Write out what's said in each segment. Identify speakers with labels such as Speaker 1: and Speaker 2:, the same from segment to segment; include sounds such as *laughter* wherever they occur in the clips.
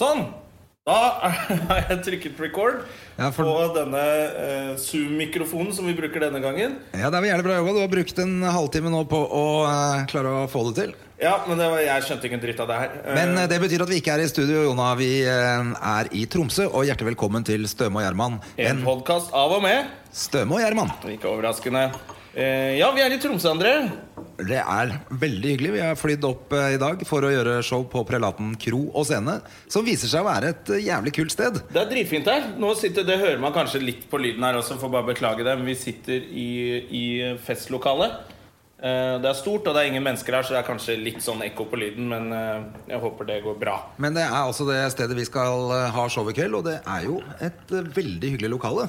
Speaker 1: Sånn! Da *laughs* har jeg trykket record
Speaker 2: Ja, for-
Speaker 1: på denne eh, Zoom-mikrofonen som vi bruker denne gangen.
Speaker 2: Ja, Det er vel jævlig bra jobba. Du har brukt en halvtime nå på å eh, klare å få det til.
Speaker 1: Ja, men det var, jeg skjønte ikke en dritt av det her. Eh,
Speaker 2: Men eh, det betyr at vi ikke er i studio, Jona. Vi eh, er i Tromsø. Og hjertelig velkommen til Støme og Gjerman.
Speaker 1: en
Speaker 2: En
Speaker 1: podkast av og med.
Speaker 2: Støme og Gjerman.
Speaker 1: Ikke overraskende. Eh, ja, vi er i Tromsø, André.
Speaker 2: Det er veldig hyggelig. Vi har flydd opp eh, i dag for å gjøre show på Prelaten kro og scene, som viser seg å være et eh, jævlig kult sted.
Speaker 1: Det er dritfint her. Nå sitter, Det hører man kanskje litt på lyden her også, får bare beklage det. Men vi sitter i, i festlokalet. Eh, det er stort, og det er ingen mennesker her, så det er kanskje litt sånn ekko på lyden, men eh, jeg håper det går bra.
Speaker 2: Men det er altså det stedet vi skal eh, ha show i kveld, og det er jo et eh, veldig hyggelig lokale.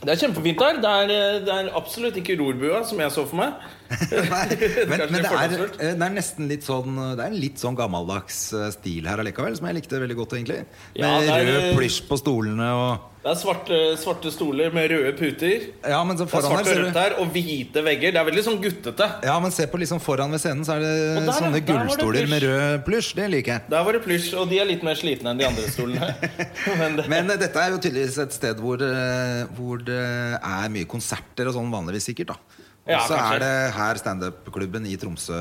Speaker 1: Det er kjempefint her. Det er, eh, det er absolutt ikke rorbua, som jeg så for meg.
Speaker 2: *laughs* Nei, men,
Speaker 1: Kanskje
Speaker 2: men det, er, eh,
Speaker 1: fordomsfullt.
Speaker 2: det er nesten litt sånn Det er en litt sånn gammeldags eh, stil her allikevel, som jeg likte veldig godt, egentlig. Med
Speaker 1: Ja, det er- eh,
Speaker 2: rød plysj på stolene og
Speaker 1: Det er svarte, svarte stoler med røde puter.
Speaker 2: Ja, men så
Speaker 1: Det er
Speaker 2: foran
Speaker 1: svart
Speaker 2: her
Speaker 1: og
Speaker 2: ser
Speaker 1: rødt
Speaker 2: du
Speaker 1: her, og hvite vegger. Det er veldig sånn guttete.
Speaker 2: ja, men se på liksom foran ved scenen, så er det
Speaker 1: Og der,
Speaker 2: sånne
Speaker 1: ja, der var det
Speaker 2: gullstoler med
Speaker 1: plysj.
Speaker 2: rød plysj. Det liker jeg.
Speaker 1: Der var det plysj, og de er litt mer slitne enn de andre stolene.
Speaker 2: *laughs*
Speaker 1: Men det,
Speaker 2: Men eh, dette er jo tydeligvis et sted hvor, eh, hvor det er mye konserter og sånn vanligvis, sikkert. da Og
Speaker 1: Ja,
Speaker 2: så
Speaker 1: kanskje.
Speaker 2: er det her standup-klubben i Tromsø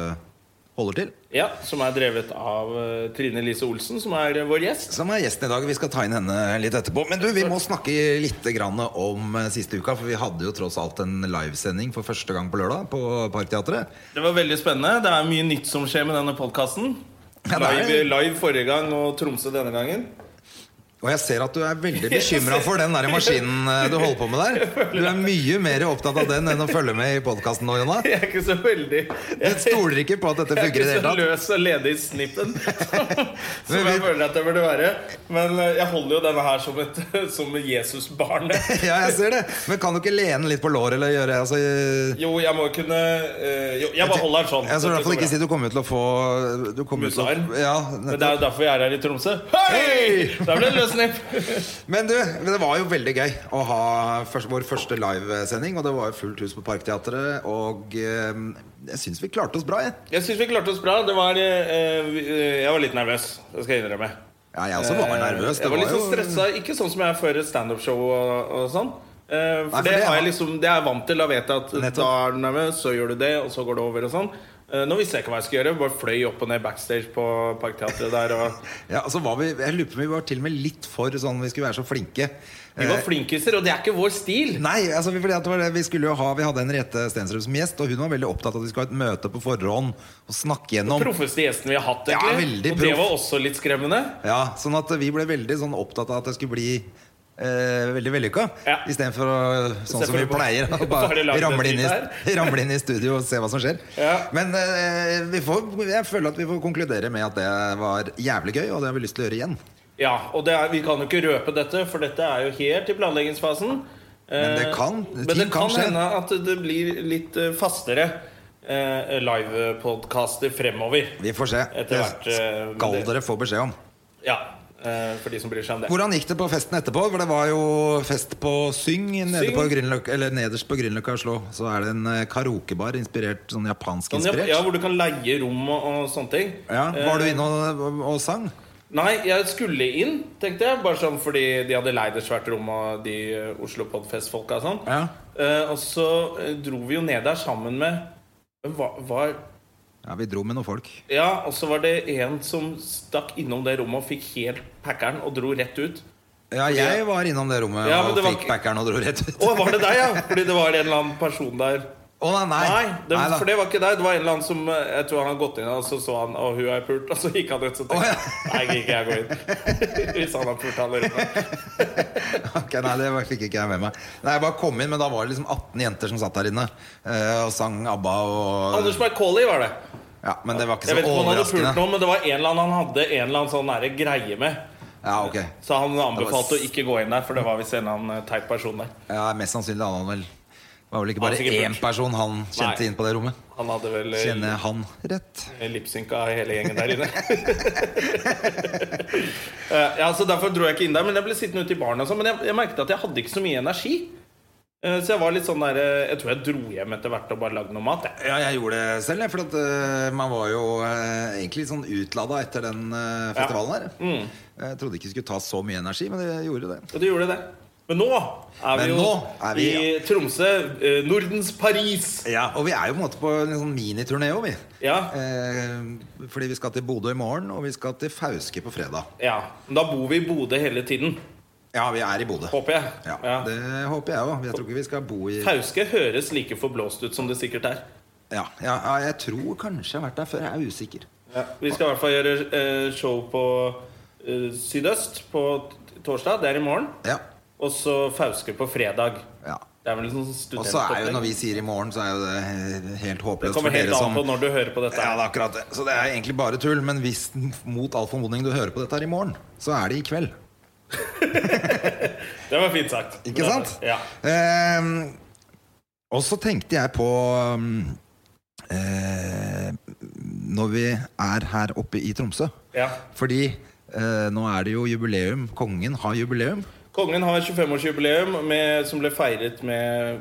Speaker 2: holder til.
Speaker 1: ja, som er drevet av eh, Trine Lise Olsen, som er eh, vår gjest.
Speaker 2: som er gjesten i dag. Vi skal ta inn henne litt etterpå. Men du, vi må snakke litt grann om eh, siste uka, for vi hadde jo tross alt en livesending for første gang på lørdag på Parkteatret.
Speaker 1: Det var veldig spennende. Det er mye nytt som skjer med denne podkasten.
Speaker 2: Ja, det er-
Speaker 1: Live, live forrige gang og Tromsø denne gangen. *laughs*
Speaker 2: Og jeg ser at du er veldig bekymra for den der maskinen eh, du holder på med der. Du er mye mer opptatt av den enn å følge med i podkasten nå, Jonna.
Speaker 1: Jeg er ikke så veldig
Speaker 2: Jeg stoler ikke på at dette
Speaker 1: Jeg er
Speaker 2: funker
Speaker 1: ikke
Speaker 2: i det
Speaker 1: så
Speaker 2: hele tatt.
Speaker 1: løs og ledig i snippen *laughs* som, som jeg
Speaker 2: Men vi-
Speaker 1: føler at jeg burde være. Men eh, jeg holder jo denne her som et *laughs* som Jesusbarnet.
Speaker 2: Ja, jeg ser det. Men kan du ikke lene litt på låret eller gjøre altså, eh,
Speaker 1: Jo, jeg må kunne eh, Jo, jeg bare holder den sånn.
Speaker 2: Jeg skal i hvert fall ikke si
Speaker 1: Dette går bra.
Speaker 2: du kommer til å få du kommer til å-
Speaker 1: Musearm?
Speaker 2: Ja,
Speaker 1: Men det er jo derfor jeg er her i Tromsø. Hei!
Speaker 2: Hei!
Speaker 1: Der ble det løs snipp.
Speaker 2: Men du, det var jo veldig gøy å ha først, vår første livesending. Og det var jo fullt hus på Parkteatret. Og eh, jeg syns vi klarte oss bra, jeg.
Speaker 1: Jeg syns vi klarte oss bra. Det var eh, vi- eh, Jeg var litt nervøs. Det skal jeg innrømme.
Speaker 2: Ja, jeg også var nervøs.
Speaker 1: jeg var litt sånn
Speaker 2: jo-
Speaker 1: stressa. Ikke sånn som jeg er før et standup-show og, og sånn. Eh, for
Speaker 2: for
Speaker 1: det,
Speaker 2: det
Speaker 1: har
Speaker 2: har-
Speaker 1: jeg liksom, det er jeg vant til. Da vet jeg at
Speaker 2: Nettopp.
Speaker 1: da er du nervøs, så gjør du det, og så går det over. og sånn Eh, Nå visste jeg ikke hva jeg skulle gjøre. Bare fløy opp og ned backstage på Parkteatret der. Og
Speaker 2: Ja, altså var vi, jeg lurer på om vi var til og med litt for sånn Vi skulle være så flinke.
Speaker 1: vi
Speaker 2: *laughs* Eh.
Speaker 1: var flinkiser, og det er ikke vår stil.
Speaker 2: Nei, altså vi, fordi at det var det, vi skulle jo ha Vi hadde Henriette Stensrud som gjest, og hun var veldig opptatt av at vi skulle ha et møte på forhånd og snakke gjennom.
Speaker 1: Proffeste gjesten vi har hatt,
Speaker 2: Ja,
Speaker 1: egentlig.
Speaker 2: veldig
Speaker 1: og det
Speaker 2: proff.
Speaker 1: var også litt skremmende.
Speaker 2: Ja, sånn at vi ble veldig sånn opptatt av at det skulle bli eh, veldig vellykka.
Speaker 1: Ja.
Speaker 2: Istedenfor å sånn som
Speaker 1: for
Speaker 2: vi
Speaker 1: å bare- *laughs*
Speaker 2: pleier. å
Speaker 1: bare
Speaker 2: Bare
Speaker 1: lage
Speaker 2: ramle
Speaker 1: det
Speaker 2: inn,
Speaker 1: dritt
Speaker 2: i, ramle inn i studio og se hva som skjer.
Speaker 1: Ja.
Speaker 2: Men eh, vi får, jeg føler at vi får konkludere med at det var jævlig gøy, og det har vi lyst til å gjøre igjen.
Speaker 1: Ja, og det er, Vi kan jo ikke røpe dette, for dette er jo helt i planleggingsfasen.
Speaker 2: Men det kan-
Speaker 1: Eh, men
Speaker 2: ting
Speaker 1: det
Speaker 2: kan
Speaker 1: kan
Speaker 2: skje.
Speaker 1: hende at det blir litt eh, fastere eh, livepodkaster fremover.
Speaker 2: Vi får se.
Speaker 1: Etter hvert,
Speaker 2: det
Speaker 1: eh, men
Speaker 2: skal
Speaker 1: det-
Speaker 2: dere få beskjed om.
Speaker 1: Ja, eh, For de som bryr seg om det.
Speaker 2: Hvordan gikk det på festen etterpå? For det var jo fest på Syng. Nede
Speaker 1: Syng.
Speaker 2: på Grünerløkka- eller nederst på Grünerløkka i Oslo så er det en eh, karaokebar inspirert, sånn japansk
Speaker 1: Sånn,
Speaker 2: inspirert.
Speaker 1: ja, hvor du kan leie rom og, og sånne ting.
Speaker 2: Ja, Var du
Speaker 1: Eh,
Speaker 2: inne og, og sang?
Speaker 1: Nei, jeg skulle inn, tenkte jeg. Bare sånn fordi de hadde leid et svært rom av de eh, Oslo Podfest-folka og sånn.
Speaker 2: Ja.
Speaker 1: Eh, og så eh, dro vi jo ned der sammen med Hva var
Speaker 2: Ja, vi dro med noen folk.
Speaker 1: Ja, og så var det en som stakk innom det rommet og fikk helt packeren og dro rett ut.
Speaker 2: Ja, jeg var innom det rommet
Speaker 1: Ja, men
Speaker 2: og
Speaker 1: det var
Speaker 2: fikk
Speaker 1: ikke-
Speaker 2: packeren og dro rett ut.
Speaker 1: Å, var det deg, ja? Fordi det var en eller annen person der.
Speaker 2: Å nei, nei.
Speaker 1: Nei, det,
Speaker 2: Nei da.
Speaker 1: for det var ikke deg. Det var en eller annen som eh, Jeg tror han hadde gått inn, og så så han Å, hun er pult. Og så gikk han ut. Så tenkte
Speaker 2: Å, ja.
Speaker 1: jeg Nei, ikke jeg går inn. *laughs* Hvis han har pult alle rundt.
Speaker 2: Ok, nei, det var- fikk ikke jeg med meg. Nei, Jeg bare kom inn, men da var det liksom 18 jenter som satt der inne eh, og sang ABBA og
Speaker 1: Anders McCauley var det.
Speaker 2: Ja, men det var ikke
Speaker 1: Jeg
Speaker 2: så
Speaker 1: vet ikke om han hadde pult
Speaker 2: overraskende.
Speaker 1: noen, men det var en eller annen han hadde en eller annen sånn nære greie med.
Speaker 2: Ja, ok.
Speaker 1: Så han anbefalte
Speaker 2: Det var
Speaker 1: å ikke gå inn der, for det var visst en eller annen eh, teit person der.
Speaker 2: Ja, Mest sannsynlig hadde han vel Det var vel ikke
Speaker 1: Han
Speaker 2: bare
Speaker 1: var sikkert
Speaker 2: én
Speaker 1: pult.
Speaker 2: person han kjente
Speaker 1: Nei.
Speaker 2: inn på det rommet.
Speaker 1: Han hadde vel eh,
Speaker 2: Kjenner jeg han rett?
Speaker 1: Lipsynka hele gjengen der inne. *laughs* Eh, ja, så Derfor dro jeg ikke inn der, men jeg ble sittende ute i baren. og sånn, Men jeg, jeg merket at jeg hadde ikke så mye energi. Eh, Så jeg var litt sånn der eh, Jeg tror jeg dro hjem etter hvert og bare lagde noe mat. Jeg.
Speaker 2: Ja, jeg gjorde det selv, jeg, for at, eh, man var jo eh, egentlig litt sånn utlada etter den eh, festivalen her.
Speaker 1: Mm.
Speaker 2: Jeg trodde ikke det skulle ta så mye energi, men det gjorde det.
Speaker 1: Og du gjorde det. Men nå er vi
Speaker 2: Men
Speaker 1: jo
Speaker 2: nå er vi,
Speaker 1: i Tromsø. eh, Nordens Paris.
Speaker 2: Ja, Og vi er jo på en måte på en sånn miniturné òg, vi.
Speaker 1: Ja.
Speaker 2: Eh, fordi vi skal til Bodø i morgen, og vi skal til Fauske på fredag.
Speaker 1: ja. Men da bor vi i Bodø hele tiden,
Speaker 2: Ja, vi er i Bodø.
Speaker 1: håper jeg.
Speaker 2: Ja,
Speaker 1: Ja.
Speaker 2: Det håper jeg òg. Jeg tror ikke vi skal bo i
Speaker 1: Fauske høres like forblåst ut som det sikkert er.
Speaker 2: Ja, ja, ja jeg tror kanskje jeg har vært der før. Jeg er usikker.
Speaker 1: Vi skal i hvert fall gjøre eh, show på eh, Sydøst på t- torsdag. Det er i morgen.
Speaker 2: Ja,
Speaker 1: Og så Fauske på fredag.
Speaker 2: ja.
Speaker 1: Det er vel en sånn
Speaker 2: Og så er jo
Speaker 1: studentopplegg.
Speaker 2: når vi sier i morgen, så er jo det he- helt
Speaker 1: Det
Speaker 2: håpløst for
Speaker 1: kommer helt
Speaker 2: dere
Speaker 1: an
Speaker 2: som
Speaker 1: på når du hører på dette.
Speaker 2: Ja, det er akkurat det. Så det er egentlig bare tull. Men hvis mot all formodning du hører på dette her i morgen, så er det i kveld.
Speaker 1: Det var fint sagt.
Speaker 2: Ikke sant?
Speaker 1: Ja.
Speaker 2: Ehm, og så tenkte jeg på um, eh, Når vi er her oppe i Tromsø.
Speaker 1: ja.
Speaker 2: Fordi eh, nå er det jo jubileum. Kongen har jubileum.
Speaker 1: Kongen har 25-årsjubileum med- som ble feiret med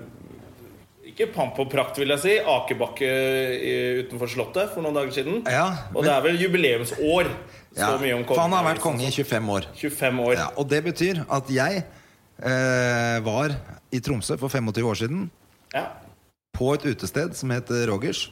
Speaker 1: ikke pamp og prakt, vil jeg si. Akebakke i- utenfor Slottet for noen dager siden.
Speaker 2: Ja,
Speaker 1: Og det er vel jubileumsår. Så
Speaker 2: Ja,
Speaker 1: mye om kongen. liksom.
Speaker 2: for han har vært konge i 25 år.
Speaker 1: 25 år.
Speaker 2: Ja, og det betyr at jeg eh, var i Tromsø for 25 år siden
Speaker 1: Ja.
Speaker 2: på et utested som het Rogers.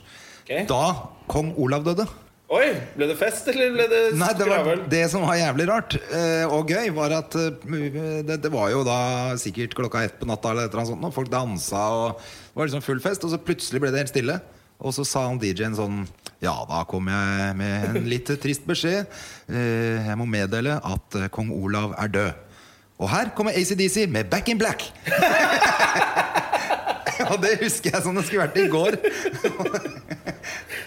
Speaker 1: ok.
Speaker 2: Da kong Olav døde.
Speaker 1: Oi! Ble det fest, eller ble det
Speaker 2: Nei, det, var,
Speaker 1: skravel?
Speaker 2: det som var jævlig rart eh, og gøy, var at eh, det, det var jo da sikkert klokka ett på natta, eller et eller annet sånt, og folk dansa, og det var liksom full fest. Og så plutselig ble det helt stille. Og så sa han DJ-en sånn Ja, da kom jeg med en litt trist beskjed. Eh, jeg må meddele at eh, kong Olav er død. Og her kommer ACDC med Back in Black. *laughs* Og det husker jeg som det skulle vært i går.
Speaker 1: *laughs*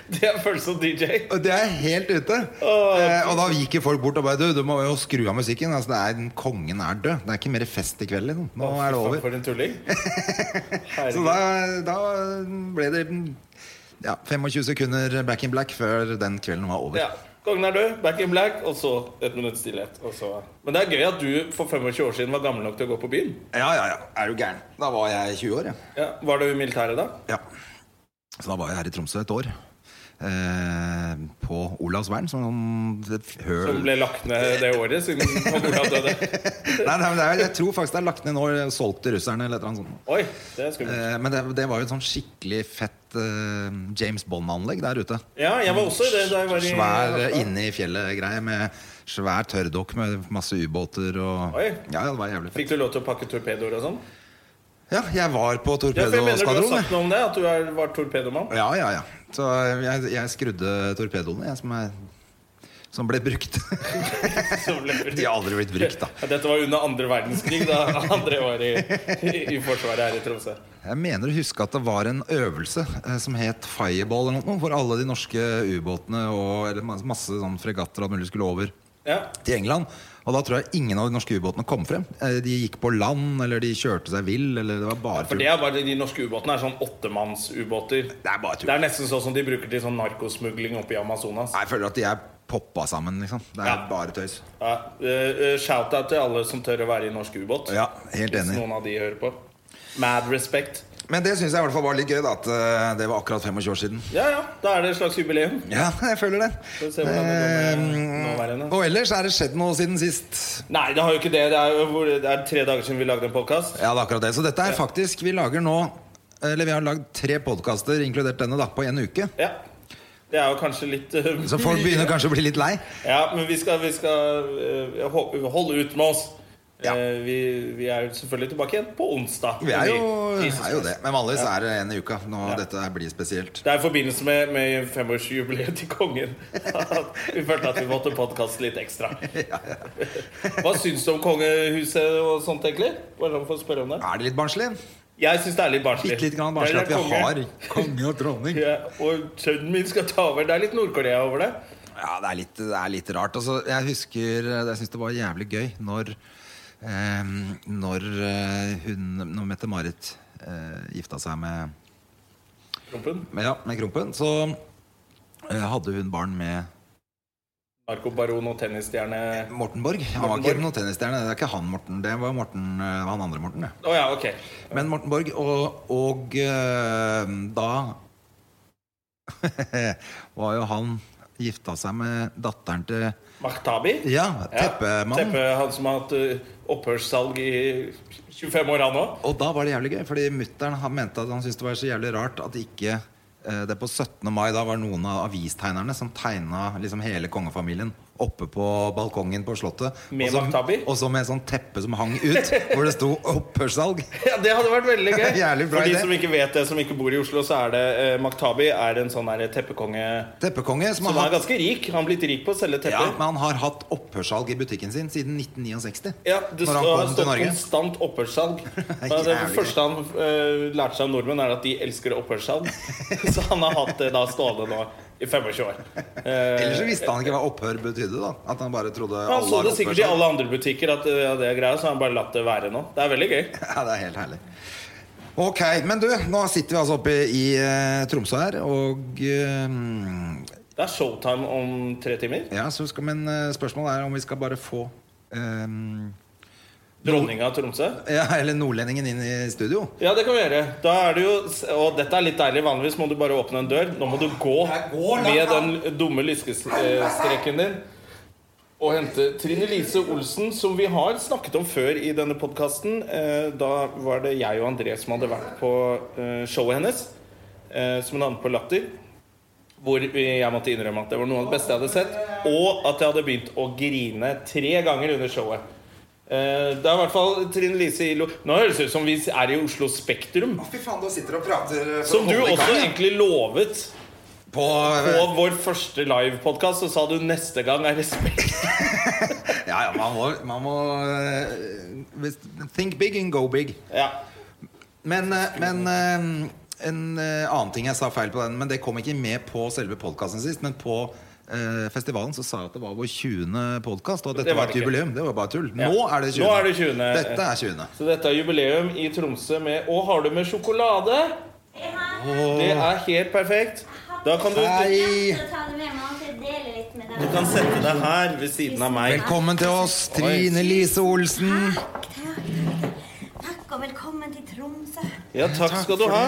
Speaker 1: Det er følelsen som DJ.
Speaker 2: Og det er helt ute. Eh, og da gikk jo folk bort og bare Du, du må jo skru av musikken. Altså, det er, kongen er død. Det er ikke mer fest i kveld. Liksom. Nå er det over.
Speaker 1: For en tulling.
Speaker 2: *laughs* Så
Speaker 1: Herregud.
Speaker 2: da, da ble det ja, 25 sekunder back in black før den kvelden var over.
Speaker 1: Ja. Kongen er død, back in black, og så et minutts stillhet. Og så. Men det er gøy at du for 25 år siden var gammel nok til å gå på byen.
Speaker 2: Ja, ja, ja. Er du gæren? Da var jeg 20 år, ja.
Speaker 1: Ja. Var du i militæret da?
Speaker 2: ja. Så da var jeg her i Tromsø et år. Eh, på Olavsvern, som det høl...
Speaker 1: Som ble lagt ned det året siden kong Olav døde?
Speaker 2: *laughs* Nei, nei, men det er, jeg tror faktisk det er lagt ned nå. Solgt til russerne eller et eller annet sånt.
Speaker 1: Oi, det er skummelt.
Speaker 2: Eh, Men det, det var jo et sånn skikkelig fett eh, James Bond-anlegg der ute.
Speaker 1: Ja, jeg var også i det da jeg var i
Speaker 2: Svær eh, inne i fjellet-greie med svær tørrdokk med masse ubåter og
Speaker 1: Oi.
Speaker 2: Ja, ja, det var jævlig fett.
Speaker 1: Fikk du lov til å pakke torpedoer og sånn?
Speaker 2: Ja, jeg var på
Speaker 1: Ja, for jeg mener du har
Speaker 2: torpedoskvadronen.
Speaker 1: sagt noe om det, at du er, var torpedomann. *laughs*
Speaker 2: Ja, ja, ja. Så jeg, jeg skrudde torpedoene, jeg, som, er, som ble brukt. *laughs*
Speaker 1: Så ble
Speaker 2: De har aldri blitt brukt, da.
Speaker 1: Ja, Dette var under andre verdenskrig,
Speaker 2: *laughs*
Speaker 1: da André var i, i, i Forsvaret her i Tromsø.
Speaker 2: Jeg mener å huske at det var en øvelse eh, som het Fireball eller noe, hvor alle de norske ubåtene og eller masse, masse sånn fregatter og alt mulig skulle over.
Speaker 1: Ja.
Speaker 2: til England. Og da tror jeg ingen av de norske ubåtene kom frem. Eh, De gikk på land, eller de kjørte seg vill, eller det var bare
Speaker 1: For
Speaker 2: tull.
Speaker 1: det er bare De norske ubåtene er sånn åttemannsubåter.
Speaker 2: Det er bare
Speaker 1: Det
Speaker 2: tull.
Speaker 1: er nesten sånn som de bruker til sånn narkosmugling oppe i Amazonas.
Speaker 2: Jeg føler at de er poppa sammen, liksom. Det er
Speaker 1: Ja.
Speaker 2: bare tøys.
Speaker 1: Ja, eh, eh, Shout-out til alle som tør å være i norsk ubåt.
Speaker 2: Ja, helt
Speaker 1: Hvis
Speaker 2: enig.
Speaker 1: noen av de hører på. Mad respect.
Speaker 2: Men det syns jeg i hvert fall var litt gøy, da. At eh, det var akkurat 25 år siden.
Speaker 1: Ja, ja, da er det et slags jubileum.
Speaker 2: Ja, jeg føler det.
Speaker 1: Får vi se hvordan det går med
Speaker 2: Eh,
Speaker 1: nåværende.
Speaker 2: og ellers er det skjedd noe siden sist.
Speaker 1: Nei, det har jo ikke det. Det er, jo hvor, det er tre dager siden vi lagde en podkast.
Speaker 2: Ja, det er akkurat det. Så dette er faktisk Vi lager nå eh, Eller vi har lagd tre podkaster, inkludert denne, da, på én uke.
Speaker 1: Ja. Det er jo kanskje litt eh,
Speaker 2: Så folk begynner kanskje å bli litt lei.
Speaker 1: Ja, men vi skal, vi skal eh, hå- holde ut med oss.
Speaker 2: Ja.
Speaker 1: Eh, vi, vi er jo selvfølgelig tilbake igjen på onsdag.
Speaker 2: Vi er jo,
Speaker 1: Jesus
Speaker 2: er jo
Speaker 1: Christ.
Speaker 2: det. Men vanligvis er det en i uka. Nå,
Speaker 1: Ja.
Speaker 2: Dette her blir spesielt.
Speaker 1: Det er i forbindelse med, med femårsjubileet til kongen at vi følte at vi måtte podkaste litt
Speaker 2: *laughs*
Speaker 1: ekstra. Hva syns du om kongehuset og sånt, egentlig? Bare sånn for å spørre om det.
Speaker 2: Er det litt barnslig?
Speaker 1: Jeg syns det er litt barnslig.
Speaker 2: Bitte litt grann
Speaker 1: Jeg
Speaker 2: barnslig at
Speaker 1: er
Speaker 2: vi
Speaker 1: konge.
Speaker 2: har konge og dronning.
Speaker 1: ja, Og sønnen min skal ta over. Det er litt Nord-Korea over det.
Speaker 2: Ja, det er litt, det er litt rart. Altså, jeg husker Jeg syns det var jævlig gøy når eh, Når eh, hun Når Mette-Marit eh, gifta seg med,
Speaker 1: Trumpen.
Speaker 2: med, ja, med Krompen, så eh, hadde hun barn med
Speaker 1: narkobaron og tennisstjerne Å
Speaker 2: Morten Borg. Han var
Speaker 1: Morten
Speaker 2: ikke
Speaker 1: Borg.
Speaker 2: noen tennisstjerne. Det er ikke han Morten. Det var Morten, eh, han andre Morten. Det.
Speaker 1: ja, ok.
Speaker 2: Men Morten Borg og, og eh, da *laughs* var jo han gifta seg med datteren til
Speaker 1: Mahtabi?
Speaker 2: Ja, Teppemannen.
Speaker 1: Teppe, han som har hatt eh, opphørssalg i 25 år, han òg.
Speaker 2: Og da var det jævlig gøy, fordi mutter'n mente at han syntes det var så jævlig rart at ikke eh, det på 17. mai da var noen av avistegnerne som tegna liksom hele kongefamilien oppe på balkongen på Slottet.
Speaker 1: Med
Speaker 2: Og så-
Speaker 1: Maktabi?
Speaker 2: Og så med sånn teppe som hang ut, hvor det sto
Speaker 1: *laughs*
Speaker 2: 'opphørssalg'.
Speaker 1: Ja, Det hadde vært veldig gøy.
Speaker 2: *laughs* Jævlig bra
Speaker 1: For de
Speaker 2: idé.
Speaker 1: som ikke vet det, som ikke bor i Oslo, så er det eh, Maktabi er en sånn her teppekonge
Speaker 2: Teppekonge som
Speaker 1: som
Speaker 2: har
Speaker 1: er
Speaker 2: hatt
Speaker 1: ganske rik. Han har blitt rik på å selge
Speaker 2: ja,
Speaker 1: tepper.
Speaker 2: men han har hatt opphørssalg i butikken sin siden 1969.
Speaker 1: Ja, det sto-
Speaker 2: når han
Speaker 1: har
Speaker 2: kom til
Speaker 1: stått
Speaker 2: Norge.
Speaker 1: konstant
Speaker 2: *laughs*
Speaker 1: opphørssalg. Men Det
Speaker 2: Jævlig
Speaker 1: første han eh, lærte seg av nordmenn, er at de elsker
Speaker 2: *laughs*
Speaker 1: opphørssalg. Så han har hatt det da stående nå i 25 år. Eh,
Speaker 2: Ellers så visste han ikke hva opphør betydde. da At han bare trodde
Speaker 1: han så
Speaker 2: har
Speaker 1: det sikkert i
Speaker 2: opphørssalg.
Speaker 1: alle andre butikker, at eh, ja, det er greia, så har han bare latt det være nå. Det er veldig gøy.
Speaker 2: Ja, det er helt herlig. Ok, men du, nå sitter vi altså oppe i eh, Tromsø her, og eh,
Speaker 1: Det er showtime om tre timer.
Speaker 2: Ja, så skal Men eh, spørsmålet er om vi skal bare få eh,
Speaker 1: Dronninga av Tromsø.
Speaker 2: Ja, eller nordlendingen inn i studio.
Speaker 1: Ja, det kan vi gjøre. Da er det jo, og dette er litt deilig. Vanligvis må du bare åpne en dør. Nå må du Ah, gå
Speaker 2: Jeg går langt,
Speaker 1: med
Speaker 2: da.
Speaker 1: den dumme lyskestreken din og hente Trine Lise Olsen, som vi har snakket om før i denne podkasten. Da var det jeg og André som hadde vært på eh, showet hennes, eh, som hun hadde på Latter. Hvor jeg måtte innrømme at det var noe av det beste jeg hadde sett. Og at jeg hadde begynt å grine tre ganger under showet. Eh, Det er i hvert fall Trine Lise Ilo Nå høres det ut som vi er i Oslo Spektrum.
Speaker 2: Å, fy faen, du sitter og prater eh, for
Speaker 1: Som
Speaker 2: å
Speaker 1: du
Speaker 2: holde i
Speaker 1: også
Speaker 2: gang, ja.
Speaker 1: egentlig lovet
Speaker 2: På, eh,
Speaker 1: på vår første livepodkast. Så sa du 'neste gang er det Spektrum'.
Speaker 2: Ja, ja, man må, man må eh, hvis- Think big and go big.
Speaker 1: *laughs* Ja.
Speaker 2: Men, eh, men eh, en eh, annen ting jeg sa feil på den, men det kom ikke med på selve podkasten sist. Men på eh, festivalen så sa jeg at det var vår 20. podkast, og at dette
Speaker 1: Det var
Speaker 2: var,
Speaker 1: det
Speaker 2: et
Speaker 1: ikke.
Speaker 2: jubileum. Det var bare tull.
Speaker 1: Ja.
Speaker 2: Nå er det 20.
Speaker 1: Nå er det 20..
Speaker 2: Dette er 20.
Speaker 1: Så dette er jubileum i Tromsø med Og har du med sjokolade? Det er helt perfekt. Da kan du, du
Speaker 2: Hei!
Speaker 1: kan sette deg her ved siden av meg.
Speaker 2: Velkommen til oss, Trine Lise Olsen.
Speaker 3: Takk og velkommen til Tromsø.
Speaker 1: Ja, takk skal du ha.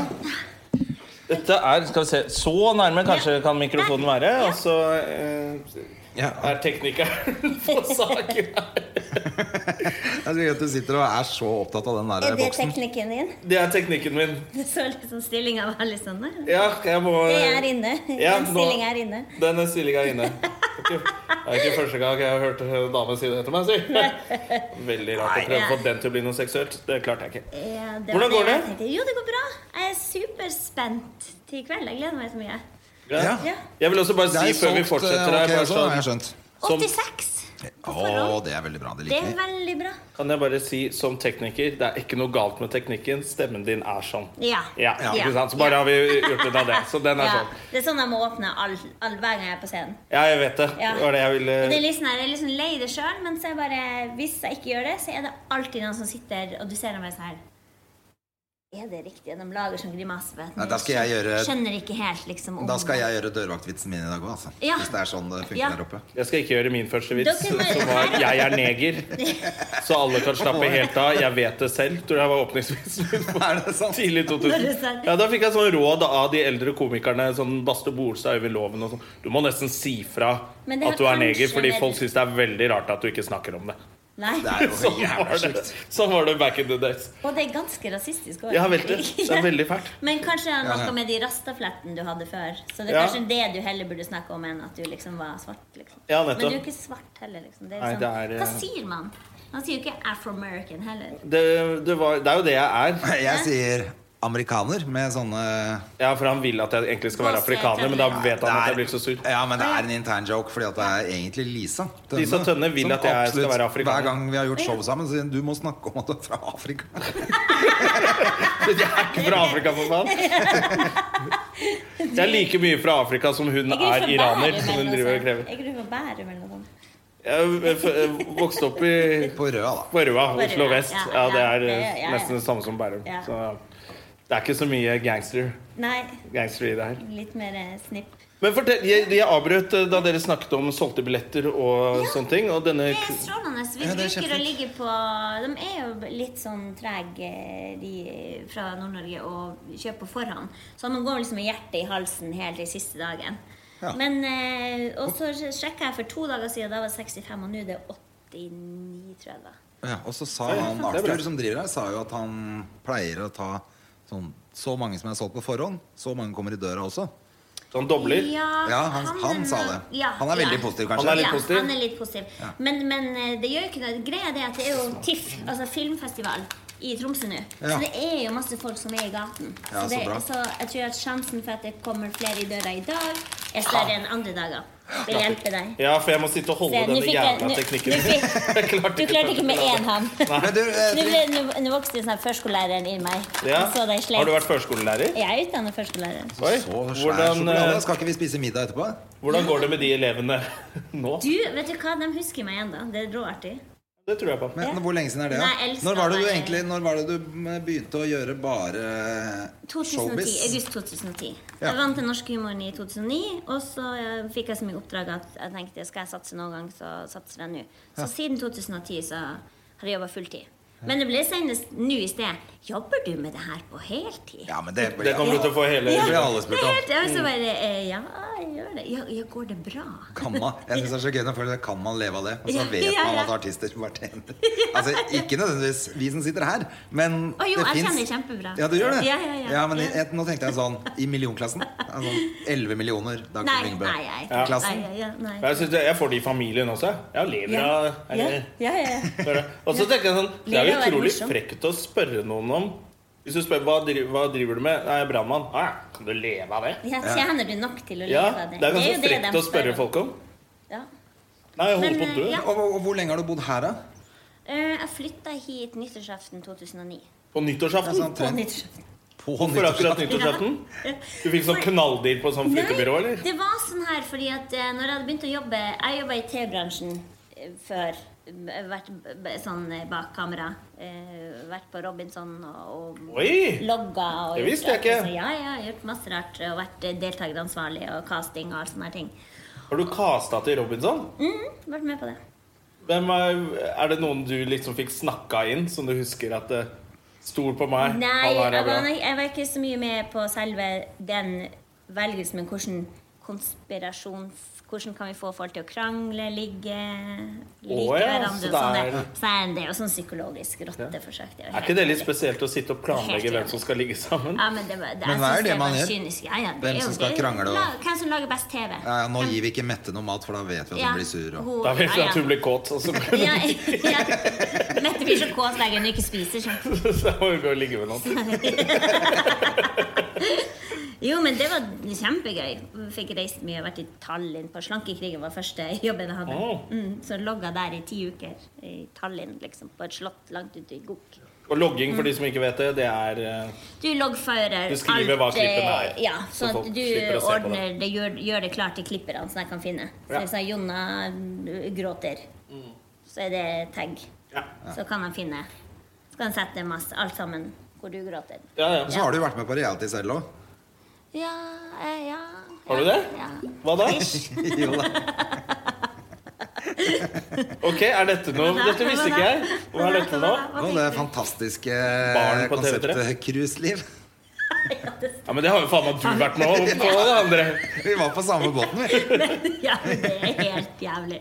Speaker 1: Dette er Skal vi se Så nærme kanskje kan mikrofonen være. Og så eh,
Speaker 2: Ja,
Speaker 1: er teknikeren *laughs* på saken her.
Speaker 2: jeg tror at du sitter og er så opptatt av den der
Speaker 3: Er det
Speaker 2: boksen.
Speaker 3: teknikken din?
Speaker 1: Det er teknikken min.
Speaker 3: Du så liksom stillinga var litt sånn. nei.
Speaker 1: Ja, jeg må
Speaker 3: Det er inne.
Speaker 1: Eh,
Speaker 3: *laughs*
Speaker 1: Ja,
Speaker 3: Den
Speaker 1: nå-
Speaker 3: stillinga er inne.
Speaker 1: Denne stillinga er inne. Det er ikke første gang jeg har hørt en dame si det til meg. Si. Veldig rart å prøve å få den til å bli noe seksuelt. Det klarte jeg ikke.
Speaker 3: Ja, det
Speaker 1: Hvordan
Speaker 3: var
Speaker 1: går
Speaker 3: jeg
Speaker 1: det?
Speaker 3: tenkte. Jo, det går bra. Jeg er superspent til i kveld. Jeg gleder meg så mye.
Speaker 2: Ja.
Speaker 3: Ja.
Speaker 1: Jeg vil også bare
Speaker 2: Det
Speaker 1: si
Speaker 2: er
Speaker 1: før vi
Speaker 2: solgt,
Speaker 1: fortsetter
Speaker 2: eh,
Speaker 1: her
Speaker 2: ok,
Speaker 1: bare
Speaker 2: også, har jeg
Speaker 1: sånn,
Speaker 2: skjønt.
Speaker 1: Som-
Speaker 3: 86 på
Speaker 2: Å,
Speaker 3: forhånd.
Speaker 2: det er veldig bra. Det
Speaker 3: Det er
Speaker 2: liker vi.
Speaker 3: veldig bra.
Speaker 1: Kan jeg bare si som tekniker det er ikke noe galt med teknikken. Stemmen din er sånn.
Speaker 3: Ja.
Speaker 1: Ja,
Speaker 3: Ja.
Speaker 1: ikke sant? Så bare har vi gjort ut av det. Så den er
Speaker 3: Ja.
Speaker 1: sånn.
Speaker 3: Det er sånn jeg må åpne all, all, hver gang jeg er på scenen.
Speaker 1: Ja, jeg vet det.
Speaker 3: Ja.
Speaker 1: Det var det jeg ville
Speaker 3: Og det er litt sånn her, jeg er litt sånn lei det sjøl, men så er jeg bare, hvis jeg ikke gjør det, så er det alltid noen som sitter og du ser dem er sånn her Er det riktig? De lager sånn grimase. vet du.
Speaker 2: Nei, da skal jeg gjøre-
Speaker 3: Skjønner ikke helt, liksom. om-
Speaker 2: Da skal jeg gjøre dørvaktvitsen min i dag òg, altså.
Speaker 3: Ja.
Speaker 2: Hvis det er sånn det funker
Speaker 3: Ja.
Speaker 2: der oppe.
Speaker 1: Jeg skal ikke gjøre min første vits,
Speaker 3: Dere må-
Speaker 1: som var 'jeg er neger'.
Speaker 3: *laughs*
Speaker 1: Så alle kan slappe helt av. Jeg vet det selv, tror jeg var åpningsvitsen min. på
Speaker 2: *laughs* Er det sant?
Speaker 1: Tidlig
Speaker 3: Når du
Speaker 1: 2000.
Speaker 3: sa-
Speaker 1: Ja, da fikk jeg sånn råd av de eldre komikerne, sånn Baste Bolstad, Øyvind Loven og sånn. Du må nesten si fra
Speaker 3: Men det har
Speaker 1: at du er
Speaker 3: kanskje
Speaker 1: neger, fordi
Speaker 3: vært-
Speaker 1: folk syns det er veldig rart at du ikke snakker
Speaker 2: *laughs*
Speaker 1: om det.
Speaker 3: Nei.
Speaker 2: Det er jo så
Speaker 1: Sånn var
Speaker 2: jævla
Speaker 1: det,
Speaker 2: sjukt.
Speaker 1: sånn var det back in the days.
Speaker 3: Og det er ganske rasistisk òg.
Speaker 1: Ja vel, det. Det
Speaker 3: *laughs*
Speaker 1: er veldig fælt.
Speaker 3: Men kanskje det er
Speaker 2: Ja, ja.
Speaker 3: noe med de rastaflettene du hadde før. Så det er
Speaker 1: Ja.
Speaker 3: kanskje det du heller burde snakke om, enn at du liksom var svart. Liksom.
Speaker 1: Ja,
Speaker 3: Men
Speaker 1: nettopp.
Speaker 3: du er jo ikke svart heller, liksom. Det er
Speaker 1: Nei,
Speaker 3: jo sånn,
Speaker 1: det er, eh,
Speaker 3: Hva sier man? Man sier jo ikke Afro-American heller.
Speaker 1: Det, det, var, det er jo det jeg er.
Speaker 2: Jeg sier amerikaner med sånne
Speaker 1: Ja, For han vil at jeg egentlig skal være afrikaner, men da vet han at jeg blir så sur. *laughs*
Speaker 2: Ja, men det er en intern joke, fordi at det er egentlig Lisa Tønne.
Speaker 1: Lisa Tønne vil
Speaker 2: som
Speaker 1: at jeg skal
Speaker 2: absolutt-
Speaker 1: være afrikaner.
Speaker 2: Hver gang vi har gjort show sammen, så sier hun du må snakke om at du er fra Afrika.
Speaker 1: Jeg er ikke fra Afrika, for
Speaker 3: *laughs*
Speaker 1: faen. Jeg er like mye fra Afrika som hun
Speaker 3: Jeg
Speaker 1: er
Speaker 3: fra altså-
Speaker 1: iraner,
Speaker 3: Bærum
Speaker 1: som hun
Speaker 3: eller noe
Speaker 1: driver og
Speaker 3: sånt.
Speaker 1: krever.
Speaker 3: Jeg er fra Bærum eller noe sånt.
Speaker 1: Jeg eh, f- eh, vokste opp i
Speaker 2: På Røa, da.
Speaker 1: Børva,
Speaker 3: Børva,
Speaker 1: Oslo vest.
Speaker 3: ja,
Speaker 1: Ja, det
Speaker 3: ja,
Speaker 1: er
Speaker 3: det-
Speaker 1: eh,
Speaker 3: ja, ja.
Speaker 1: nesten det samme som Bærum.
Speaker 3: Ja.
Speaker 1: Så det er ikke så mye gangster,
Speaker 3: Nei,
Speaker 1: gangster i det her.
Speaker 3: litt mer eh, snipp.
Speaker 1: Men fortell, jeg, jeg avbrøt eh, da dere snakket om solgte billetter og sånne ting. Og denne
Speaker 3: Det er strålende. Vi
Speaker 2: Ja, det er
Speaker 3: bruker å
Speaker 2: kjempefint.
Speaker 3: ligge på De er jo litt sånn trege, de eh, fra Nord-Norge, å kjøpe på forhånd. Så man går liksom med hjertet i halsen helt til siste dagen.
Speaker 2: Ja.
Speaker 3: Men eh, Og så sjekka jeg for to dager siden, da var det 65, og nå er det 89, tror jeg. da
Speaker 2: Ja, og så sa
Speaker 1: Ja, ja,
Speaker 2: han
Speaker 1: det er bra.
Speaker 2: Arthur som driver her, sa jo at han pleier å ta sånn, så mange som er solgt på forhånd. Så mange kommer i døra også.
Speaker 1: sånn dobler.
Speaker 2: Ja, han, han sa det. Han er veldig positiv,
Speaker 1: Han
Speaker 2: kanskje.
Speaker 1: er litt
Speaker 3: eh, ja,
Speaker 1: positiv.
Speaker 3: Han er litt positiv. Men, men eh, det gjør jo ikke noe. Greia er det at det er jo TIFF, altså filmfestival, i Tromsø nå.
Speaker 2: Ja.
Speaker 3: Så det er jo masse folk som er i gaten.
Speaker 2: Ja, så
Speaker 3: det,
Speaker 2: bra.
Speaker 3: så jeg tror at sjansen for at det kommer flere i døra i dag, er større enn andre dager. Vil hjelpe deg.
Speaker 1: Ja, for jeg må sitte og
Speaker 3: Se,
Speaker 1: holde
Speaker 3: nå
Speaker 1: denne
Speaker 3: fikk jeg-
Speaker 1: jævla
Speaker 3: nå-
Speaker 1: teknikken.
Speaker 3: nå
Speaker 1: *laughs*
Speaker 3: fikk-
Speaker 1: Jeg klarte
Speaker 3: Du klarte ikke med én hånd.
Speaker 1: *laughs*
Speaker 2: Men du, eh,
Speaker 3: *laughs* Nå ble- Nå nå vokste det sånn førskolelæreren i meg.
Speaker 1: Ja.
Speaker 3: Jeg så deg
Speaker 1: Har du
Speaker 3: sleit.
Speaker 1: vært førskolelærer?
Speaker 3: Jeg er utdannet førskolelærer.
Speaker 1: Oi,
Speaker 2: så svær
Speaker 1: hvordan,
Speaker 2: sjokolade.
Speaker 1: eh,
Speaker 2: Skal ikke vi spise middag etterpå?
Speaker 1: hvordan går det med de elevene *laughs* nå?
Speaker 3: Du, vet du hva? De husker meg ennå. Det er råartig.
Speaker 1: Det tror jeg på.
Speaker 2: Men
Speaker 3: Ja.
Speaker 2: Hvor lenge siden er det? da?
Speaker 3: Nei, jeg elsker
Speaker 2: Når var det du
Speaker 3: meg.
Speaker 2: egentlig Når var det du begynte å gjøre bare
Speaker 3: 2010,
Speaker 2: showbiz?
Speaker 3: August 2010.
Speaker 2: Ja.
Speaker 3: Jeg vant den norske humoren i 2009. Og så eh, fikk jeg så mye oppdrag at jeg tenkte skal jeg satse noen gang, så satser jeg nå. Så siden 2010 så har jeg jobba fulltid. Men det ble senest nå i sted. Jobber du med det her på heltid?
Speaker 2: Ja, men det
Speaker 1: Det kommer du til å få hele
Speaker 2: Det blir alle spurt om.
Speaker 3: Helt, jeg så bare eh, Ja, jeg gjør det. Ja, ja går det bra?
Speaker 2: Kan man, jeg synes det er så gøy når folk sier, Kan man leve av det? Og så
Speaker 3: Ja,
Speaker 2: vet
Speaker 3: ja,
Speaker 2: man
Speaker 3: ja.
Speaker 2: at artister bare tjener Altså Ikke nødvendigvis vi som sitter her, men
Speaker 3: Å jo, jeg
Speaker 2: finnes-
Speaker 3: tjener kjempebra.
Speaker 2: Ja, du gjør det?
Speaker 3: Ja, ja, ja.
Speaker 2: men jeg,
Speaker 3: Ja.
Speaker 2: nå tenkte jeg sånn i millionklassen. Altså, 11 millioner. Dagfinn
Speaker 3: Nei,
Speaker 2: Lyngbø.
Speaker 3: nei, jeg
Speaker 1: Ja.
Speaker 3: nei,
Speaker 2: Klassen.
Speaker 3: ja, ja, nei.
Speaker 1: Jeg, synes det, jeg får det i familien også. Jeg lever av
Speaker 3: ja,
Speaker 1: eller-
Speaker 3: ja, ja.
Speaker 1: Bare- Og så tenker jeg sånn Det er
Speaker 3: Lever
Speaker 1: jo
Speaker 3: av å være
Speaker 1: utrolig
Speaker 3: morsom.
Speaker 1: frekt å spørre noen om Hvis du spør hva, driv, hva driver du med, Nei, jeg er brannmann. Ah, ja, kan du leve av det?
Speaker 3: Ja, Tjener du nok til å leve
Speaker 1: Ja,
Speaker 3: av det?
Speaker 1: Det er ganske
Speaker 3: jo det
Speaker 1: frekt
Speaker 3: de
Speaker 1: å spørre
Speaker 3: spør om.
Speaker 1: folk om.
Speaker 3: Ja.
Speaker 1: Nei, jeg holder
Speaker 3: Men,
Speaker 1: på å dø.
Speaker 3: eh, ja.
Speaker 2: Og, og, og hvor lenge har du bodd her, da?
Speaker 3: Eh, Jeg flytta hit nyttårsaften 2009.
Speaker 1: På
Speaker 2: Ja,
Speaker 1: nyttårsaften.
Speaker 2: sant.
Speaker 3: På
Speaker 2: Trent.
Speaker 3: nyttårsaften.
Speaker 2: På
Speaker 1: Hvorfor akkurat
Speaker 2: nyttårsaften.
Speaker 1: nyttårsaften?
Speaker 3: *laughs*
Speaker 1: Du fikk sånn knalldeal på sånn flyttebyrå,
Speaker 3: Nei,
Speaker 1: eller?
Speaker 3: det var sånn her fordi at eh, når jeg hadde begynt å jobbe Jeg jobba i T-bransjen eh, før. eh, Vært b- b- sånn eh, bak kamera. eh, Vært på Robinson og, og
Speaker 1: Oi!
Speaker 3: logga. Og
Speaker 1: Det
Speaker 3: gjort
Speaker 1: visste jeg
Speaker 3: alt,
Speaker 1: ikke.
Speaker 3: altså, Ja, ja, gjort masse rart. Og vært eh, deltakeransvarlig og casting og alt sånne her ting.
Speaker 1: Har du casta til Robinson?
Speaker 3: Mm, vært med på det.
Speaker 1: Hvem er, er det noen du liksom fikk snakka inn, som du husker at eh, Stol på meg. han her
Speaker 3: Nei, jeg
Speaker 1: er bra.
Speaker 3: var, jeg var ikke så mye med på selve den velgelsen, men hvordan konspirasjon Hvordan kan vi få folk til å krangle, ligge, like
Speaker 1: Å ja,
Speaker 3: hverandre
Speaker 1: så
Speaker 3: og sånn.
Speaker 1: det er-
Speaker 3: der. Så er det jo sånn psykologisk rotteforsøk. Det er
Speaker 1: Er
Speaker 3: jo helt
Speaker 1: ikke det litt
Speaker 3: jævlig.
Speaker 1: spesielt å sitte og planlegge
Speaker 3: Helt
Speaker 1: hvem som skal ligge sammen?
Speaker 3: Ja, men det, var- det,
Speaker 2: Men
Speaker 3: jeg
Speaker 2: hva er
Speaker 3: synes
Speaker 2: det man
Speaker 3: var
Speaker 2: gjør?
Speaker 3: Kynisk. Ja, ja, det
Speaker 2: Hvem
Speaker 3: er jo-
Speaker 2: som skal
Speaker 3: det er jo
Speaker 2: krangle og-
Speaker 3: la- Hvem som lager best TV?
Speaker 2: Ja, ja, nå gir vi ikke Mette noe mat, for da vet vi at hun blir sur. Og...
Speaker 1: Da vet vi at hun blir kåt, og så
Speaker 3: ja, *laughs* ja. Mette blir så kåt hver gang hun ikke spiser. Sånn.
Speaker 1: *laughs* så må hun gå og ligge med noen.
Speaker 3: Jo, men det var kjempegøy. Fikk reist mye, vært i Tallinn på Slankekrigen var første jobben jeg hadde.
Speaker 1: Åh.
Speaker 3: Mm, så logga der i ti uker. I Tallinn, liksom. På et slott langt ute i Gok.
Speaker 1: Og logging, for de som ikke vet det, det er eh,
Speaker 3: Du loggfører
Speaker 1: Du skriver hva
Speaker 3: alt, eh,
Speaker 1: klippene er,
Speaker 3: Ja,
Speaker 1: så
Speaker 3: sånn
Speaker 1: folk
Speaker 3: at du
Speaker 1: slipper å se på
Speaker 3: ordner det, gjør, gjør det klart til klipperne, som jeg kan finne. Så
Speaker 1: Ja.
Speaker 3: hvis jeg, Jonna mm, gråter, så er det tag.
Speaker 1: Ja,
Speaker 3: Så kan han finne Så kan han sette masse, alt sammen hvor du gråter.
Speaker 1: ja.
Speaker 2: Så
Speaker 1: ja.
Speaker 2: har du jo vært med på reality selv òg.
Speaker 3: Ja, eh, ja
Speaker 1: Har du
Speaker 3: ja,
Speaker 1: det?
Speaker 3: Ja.
Speaker 1: Hva da?
Speaker 2: *laughs* Jo da.
Speaker 1: Ok, er dette noe Dette visste ikke jeg. Hva er dette nå?
Speaker 2: Og det fantastiske
Speaker 1: Barn på TV3.
Speaker 2: konseptet cruiseliv. *laughs*
Speaker 3: *laughs*
Speaker 1: Ja, Men det har jo faen meg du vært med på, på det andre.
Speaker 2: Vi var på samme båten, vi.
Speaker 3: *laughs* Ja, men det er helt jævlig.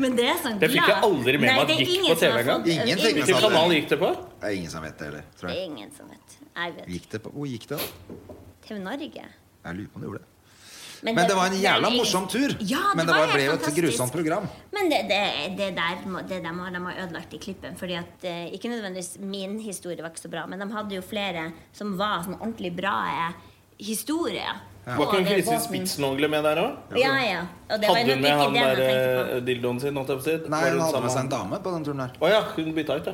Speaker 3: Men det er sånn
Speaker 1: Det fikk jeg aldri med meg at
Speaker 3: det er
Speaker 1: gikk
Speaker 3: ingen
Speaker 1: på
Speaker 3: som har
Speaker 1: TV engang.
Speaker 3: fått-
Speaker 2: Ingen fikk med seg
Speaker 1: Hvilken
Speaker 2: det.
Speaker 1: kanal gikk det på?
Speaker 2: Det er ingen som vet det heller, tror
Speaker 3: Det
Speaker 2: jeg.
Speaker 3: er ingen som vet. Jeg vet.
Speaker 2: Gikk det på? Hvor gikk det? da?
Speaker 3: TV Norge.
Speaker 2: Jeg lurer på om det gjorde det. Men det var en
Speaker 3: det er
Speaker 2: jævla
Speaker 3: ingen-
Speaker 2: morsom tur.
Speaker 3: Ja, det
Speaker 2: Men det
Speaker 3: var
Speaker 2: var,
Speaker 3: helt
Speaker 2: ble jo et
Speaker 3: fantastisk.
Speaker 2: grusomt program.
Speaker 3: Men det, det, det der må, det der må de ha ødelagt i klippen. Fordi at eh, Ikke nødvendigvis min historie var ikke så bra, men de hadde jo flere som var sånn ordentlig bra eh, historier.
Speaker 1: Var ikke
Speaker 3: Og
Speaker 1: hun
Speaker 3: det
Speaker 1: Kristin
Speaker 3: båten-
Speaker 1: Spitsnogle med der òg?
Speaker 3: Ja, ja. Og det var
Speaker 1: Hadde
Speaker 3: nok
Speaker 1: hun med
Speaker 3: ikke
Speaker 1: han
Speaker 3: det jeg
Speaker 1: der
Speaker 3: tenkte på.
Speaker 1: eh, dildoen sin? holdt jeg på å si?
Speaker 2: Nei,
Speaker 1: Var hun
Speaker 2: hun hadde med seg en
Speaker 1: sammen-
Speaker 2: dame på den turen der.
Speaker 1: Å ja, hun bytta ut, ja.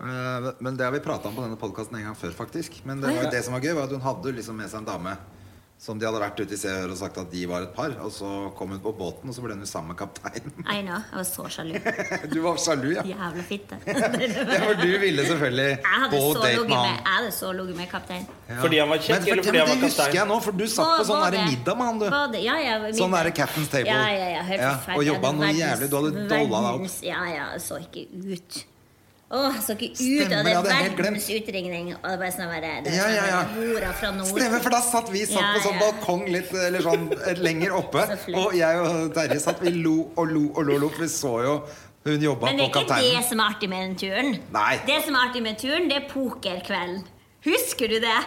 Speaker 2: Eh, Men det har vi prata om på denne podkasten en gang før, faktisk. Men det, var jo det som var gøy, var at hun hadde jo liksom med seg en dame Som de hadde vært ute i Seør og sagt at de var et par. Og så kom hun på båten, og så ble hun jo sammen med kapteinen. *laughs*
Speaker 3: I know. Jeg var så sjalu.
Speaker 1: *laughs*
Speaker 2: Du var sjalu, ja.
Speaker 3: Jævla fitte.
Speaker 2: ja for du ville selvfølgelig
Speaker 3: Jeg hadde
Speaker 2: på
Speaker 3: så
Speaker 2: date
Speaker 3: ligget
Speaker 2: med
Speaker 3: med,
Speaker 2: han.
Speaker 3: jeg hadde så ligget med kaptein.
Speaker 2: Ja.
Speaker 1: Fordi han var kjekk,
Speaker 2: Men for-
Speaker 1: eller fordi
Speaker 2: ja, men
Speaker 1: han var
Speaker 2: Det husker
Speaker 1: kaptein?
Speaker 2: jeg nå, for du satt på
Speaker 3: Og
Speaker 2: sånn
Speaker 3: var
Speaker 2: der
Speaker 3: det-
Speaker 2: middag med han, du.
Speaker 3: var det- Ja, ja,
Speaker 2: Sånn
Speaker 3: middag.
Speaker 2: der captain's table.
Speaker 3: Ja, ja, ja, helt
Speaker 2: Ja,
Speaker 3: forferdelig.
Speaker 2: og jobba
Speaker 3: Jeg hadde
Speaker 2: noe
Speaker 3: verdens-
Speaker 2: jævlig. Du hadde dolla deg opp.
Speaker 3: verdens- Ja, ja, jeg så ikke ut. Åh, jeg så ikke ut
Speaker 2: Stemmer, det
Speaker 3: av det
Speaker 2: hadde jeg helt glemt.
Speaker 3: verdens utringning. Og det var sånn bare, det
Speaker 2: Ja, ja, ja.
Speaker 3: Hora fra nord.
Speaker 2: Stemmer, for da satt vi satt
Speaker 3: Ja,
Speaker 2: på sånn
Speaker 3: ja.
Speaker 2: balkong litt Eller sånn eh, lenger oppe.
Speaker 3: *laughs* Så flott.
Speaker 2: Og jeg og Terje satt Vi lo og lo og lo, og lo for vi så jo hun jobba
Speaker 3: Men det
Speaker 2: på
Speaker 3: er ikke det
Speaker 2: kapteinen.
Speaker 3: som er artig med den turen.
Speaker 2: Nei.
Speaker 3: Det som er artig med turen, det er pokerkvelden. Husker du det?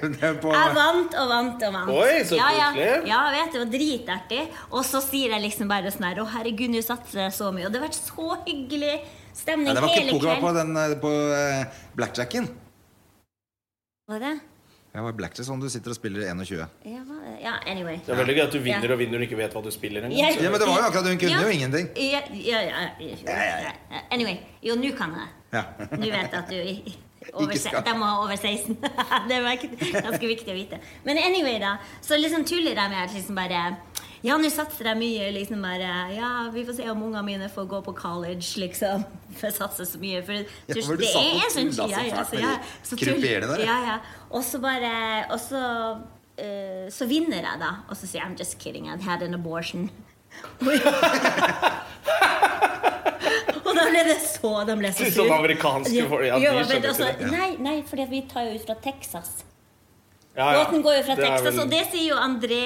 Speaker 2: *laughs* Det er på-
Speaker 3: Jeg vant og vant og vant.
Speaker 1: Oi, så
Speaker 3: ja, ja.
Speaker 1: koselig.
Speaker 3: Ja, jeg vet, det var dritartig. Og så sier jeg liksom bare sånn her Å, herregud, nå satser jeg så mye. Og det har vært så hyggelig stemning
Speaker 2: Nei, det var ikke
Speaker 3: hele
Speaker 2: poker, det var på
Speaker 3: kvelden.
Speaker 2: den eh, på eh, blackjacken.
Speaker 3: Var det?
Speaker 2: Ja, det var blackjack sånn du sitter og spiller 21.
Speaker 3: Ja, var det? ja, anyway.
Speaker 1: Det er veldig gøy at du vinner
Speaker 3: Ja.
Speaker 1: og vinner og ikke vet hva du spiller
Speaker 3: Ja.
Speaker 1: engang.
Speaker 2: Ja, men det var jo akkurat hun kunne jo ingenting.
Speaker 3: Ja, ja, ja, ja, ja. Anyway. Jo, nå kan jeg. *laughs*
Speaker 2: Ja.
Speaker 3: Nå vet jeg at du i- over,
Speaker 2: Ikke skal.
Speaker 3: se- De må ha over 16. *laughs* det er merke- ganske viktig å vite. Men anyway, da. Så liksom tuller jeg med at liksom bare Ja, nå satser jeg mye. liksom bare Ja, vi får se om ungene mine får gå på college, liksom. *laughs* For jeg satser så mye. For
Speaker 2: Ja,
Speaker 3: du-
Speaker 2: for du
Speaker 3: det
Speaker 2: satt og
Speaker 3: er en sånn
Speaker 2: tullet så
Speaker 3: ja, ja,
Speaker 2: fælt
Speaker 3: så
Speaker 2: med
Speaker 3: ja,
Speaker 2: de
Speaker 3: så
Speaker 2: croupierne der,
Speaker 3: tull.
Speaker 2: ja.
Speaker 3: Ja, ja. Og så bare Og så eh, så vinner jeg, da. Og så sier jeg I'm just kidding. I had an abortion. Og da ble det så De ble så
Speaker 1: Litt
Speaker 3: sur.
Speaker 1: sånn amerikanske folk, ja, de
Speaker 3: Jo, men
Speaker 1: skjønner ikke
Speaker 3: altså,
Speaker 1: det. Ja.
Speaker 3: Nei, nei, for vi tar jo ut fra Texas.
Speaker 1: Ja, Ah, ja.
Speaker 3: Båten går jo fra
Speaker 1: Det er
Speaker 3: Texas,
Speaker 1: vel-
Speaker 3: og det sier jo André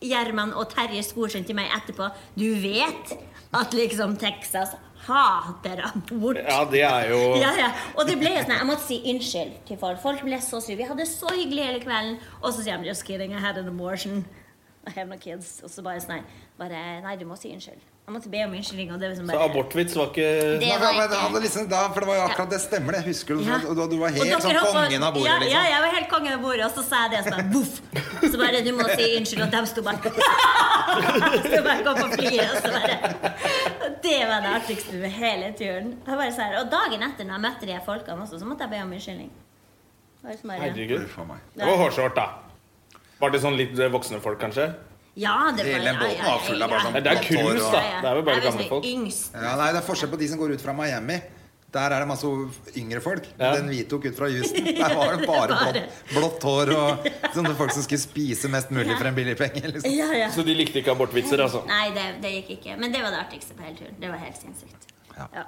Speaker 3: Gjerman og Terje Skorsund til meg etterpå. Du vet at liksom Texas hater abort.
Speaker 1: Ja, det er jo
Speaker 3: *laughs* Ja, ja. Og det ble jo sånn, jeg måtte si unnskyld til folk. Folk ble så sure. Vi hadde det så hyggelig hele kvelden, og så sier de just kidding, I had an abortion. I have no kids. Og så bare sånn, bare, nei, du må si unnskyld. Jeg måtte be om unnskyldning. Og det var sånn
Speaker 1: Så
Speaker 3: bare,
Speaker 1: abortvits var ikke
Speaker 3: Det
Speaker 2: Nei,
Speaker 3: var
Speaker 2: men det
Speaker 3: ikke-
Speaker 2: hadde liksom, da, for det var jo akkurat det stemmer, det. Husker du?
Speaker 3: Ja.
Speaker 2: Og du, du var
Speaker 3: Og dere
Speaker 2: helt sånn
Speaker 3: hoppa-
Speaker 2: kongen av bordet,
Speaker 3: ja, Ja,
Speaker 2: liksom.
Speaker 3: jeg var helt kongen av bordet, og så sa jeg det, så bare voff! Så bare du må si unnskyld, og de sto bare *laughs* Så bare kom på flyet, og så bare og Det var det artigste med hele turen. Jeg bare så her, og dagen etter, når jeg møtte de her folkene også, så måtte jeg be om unnskyldning. Det var liksom bare-
Speaker 1: Herregud.
Speaker 2: Uff a meg.
Speaker 1: Det var hårsårt, da. Var det sånn litt voksne folk, kanskje?
Speaker 3: Ja, det var
Speaker 2: Hele båten var full av bare sånn
Speaker 1: Nei, det er
Speaker 2: blått hår
Speaker 1: cruise,
Speaker 2: og-
Speaker 1: da. Det er vel bare gamle folk.
Speaker 3: Yngst.
Speaker 2: Ja, nei, det er forskjell på de som går ut fra Miami. Der er det masse yngre folk.
Speaker 1: Ja.
Speaker 2: Den vi tok ut fra Houston, der var det
Speaker 3: *laughs*
Speaker 2: bare
Speaker 3: Bare.
Speaker 2: blått, blått hår og sånne folk som skulle spise mest mulig for en billig penge.
Speaker 3: *laughs*
Speaker 2: Liksom.
Speaker 3: Ja, ja.
Speaker 1: Så de likte ikke abortvitser, altså?
Speaker 3: Nei, det, det gikk ikke. Men det var det artigste på hele turen. Det var helt sinnssykt.
Speaker 2: Ja.
Speaker 3: Ja.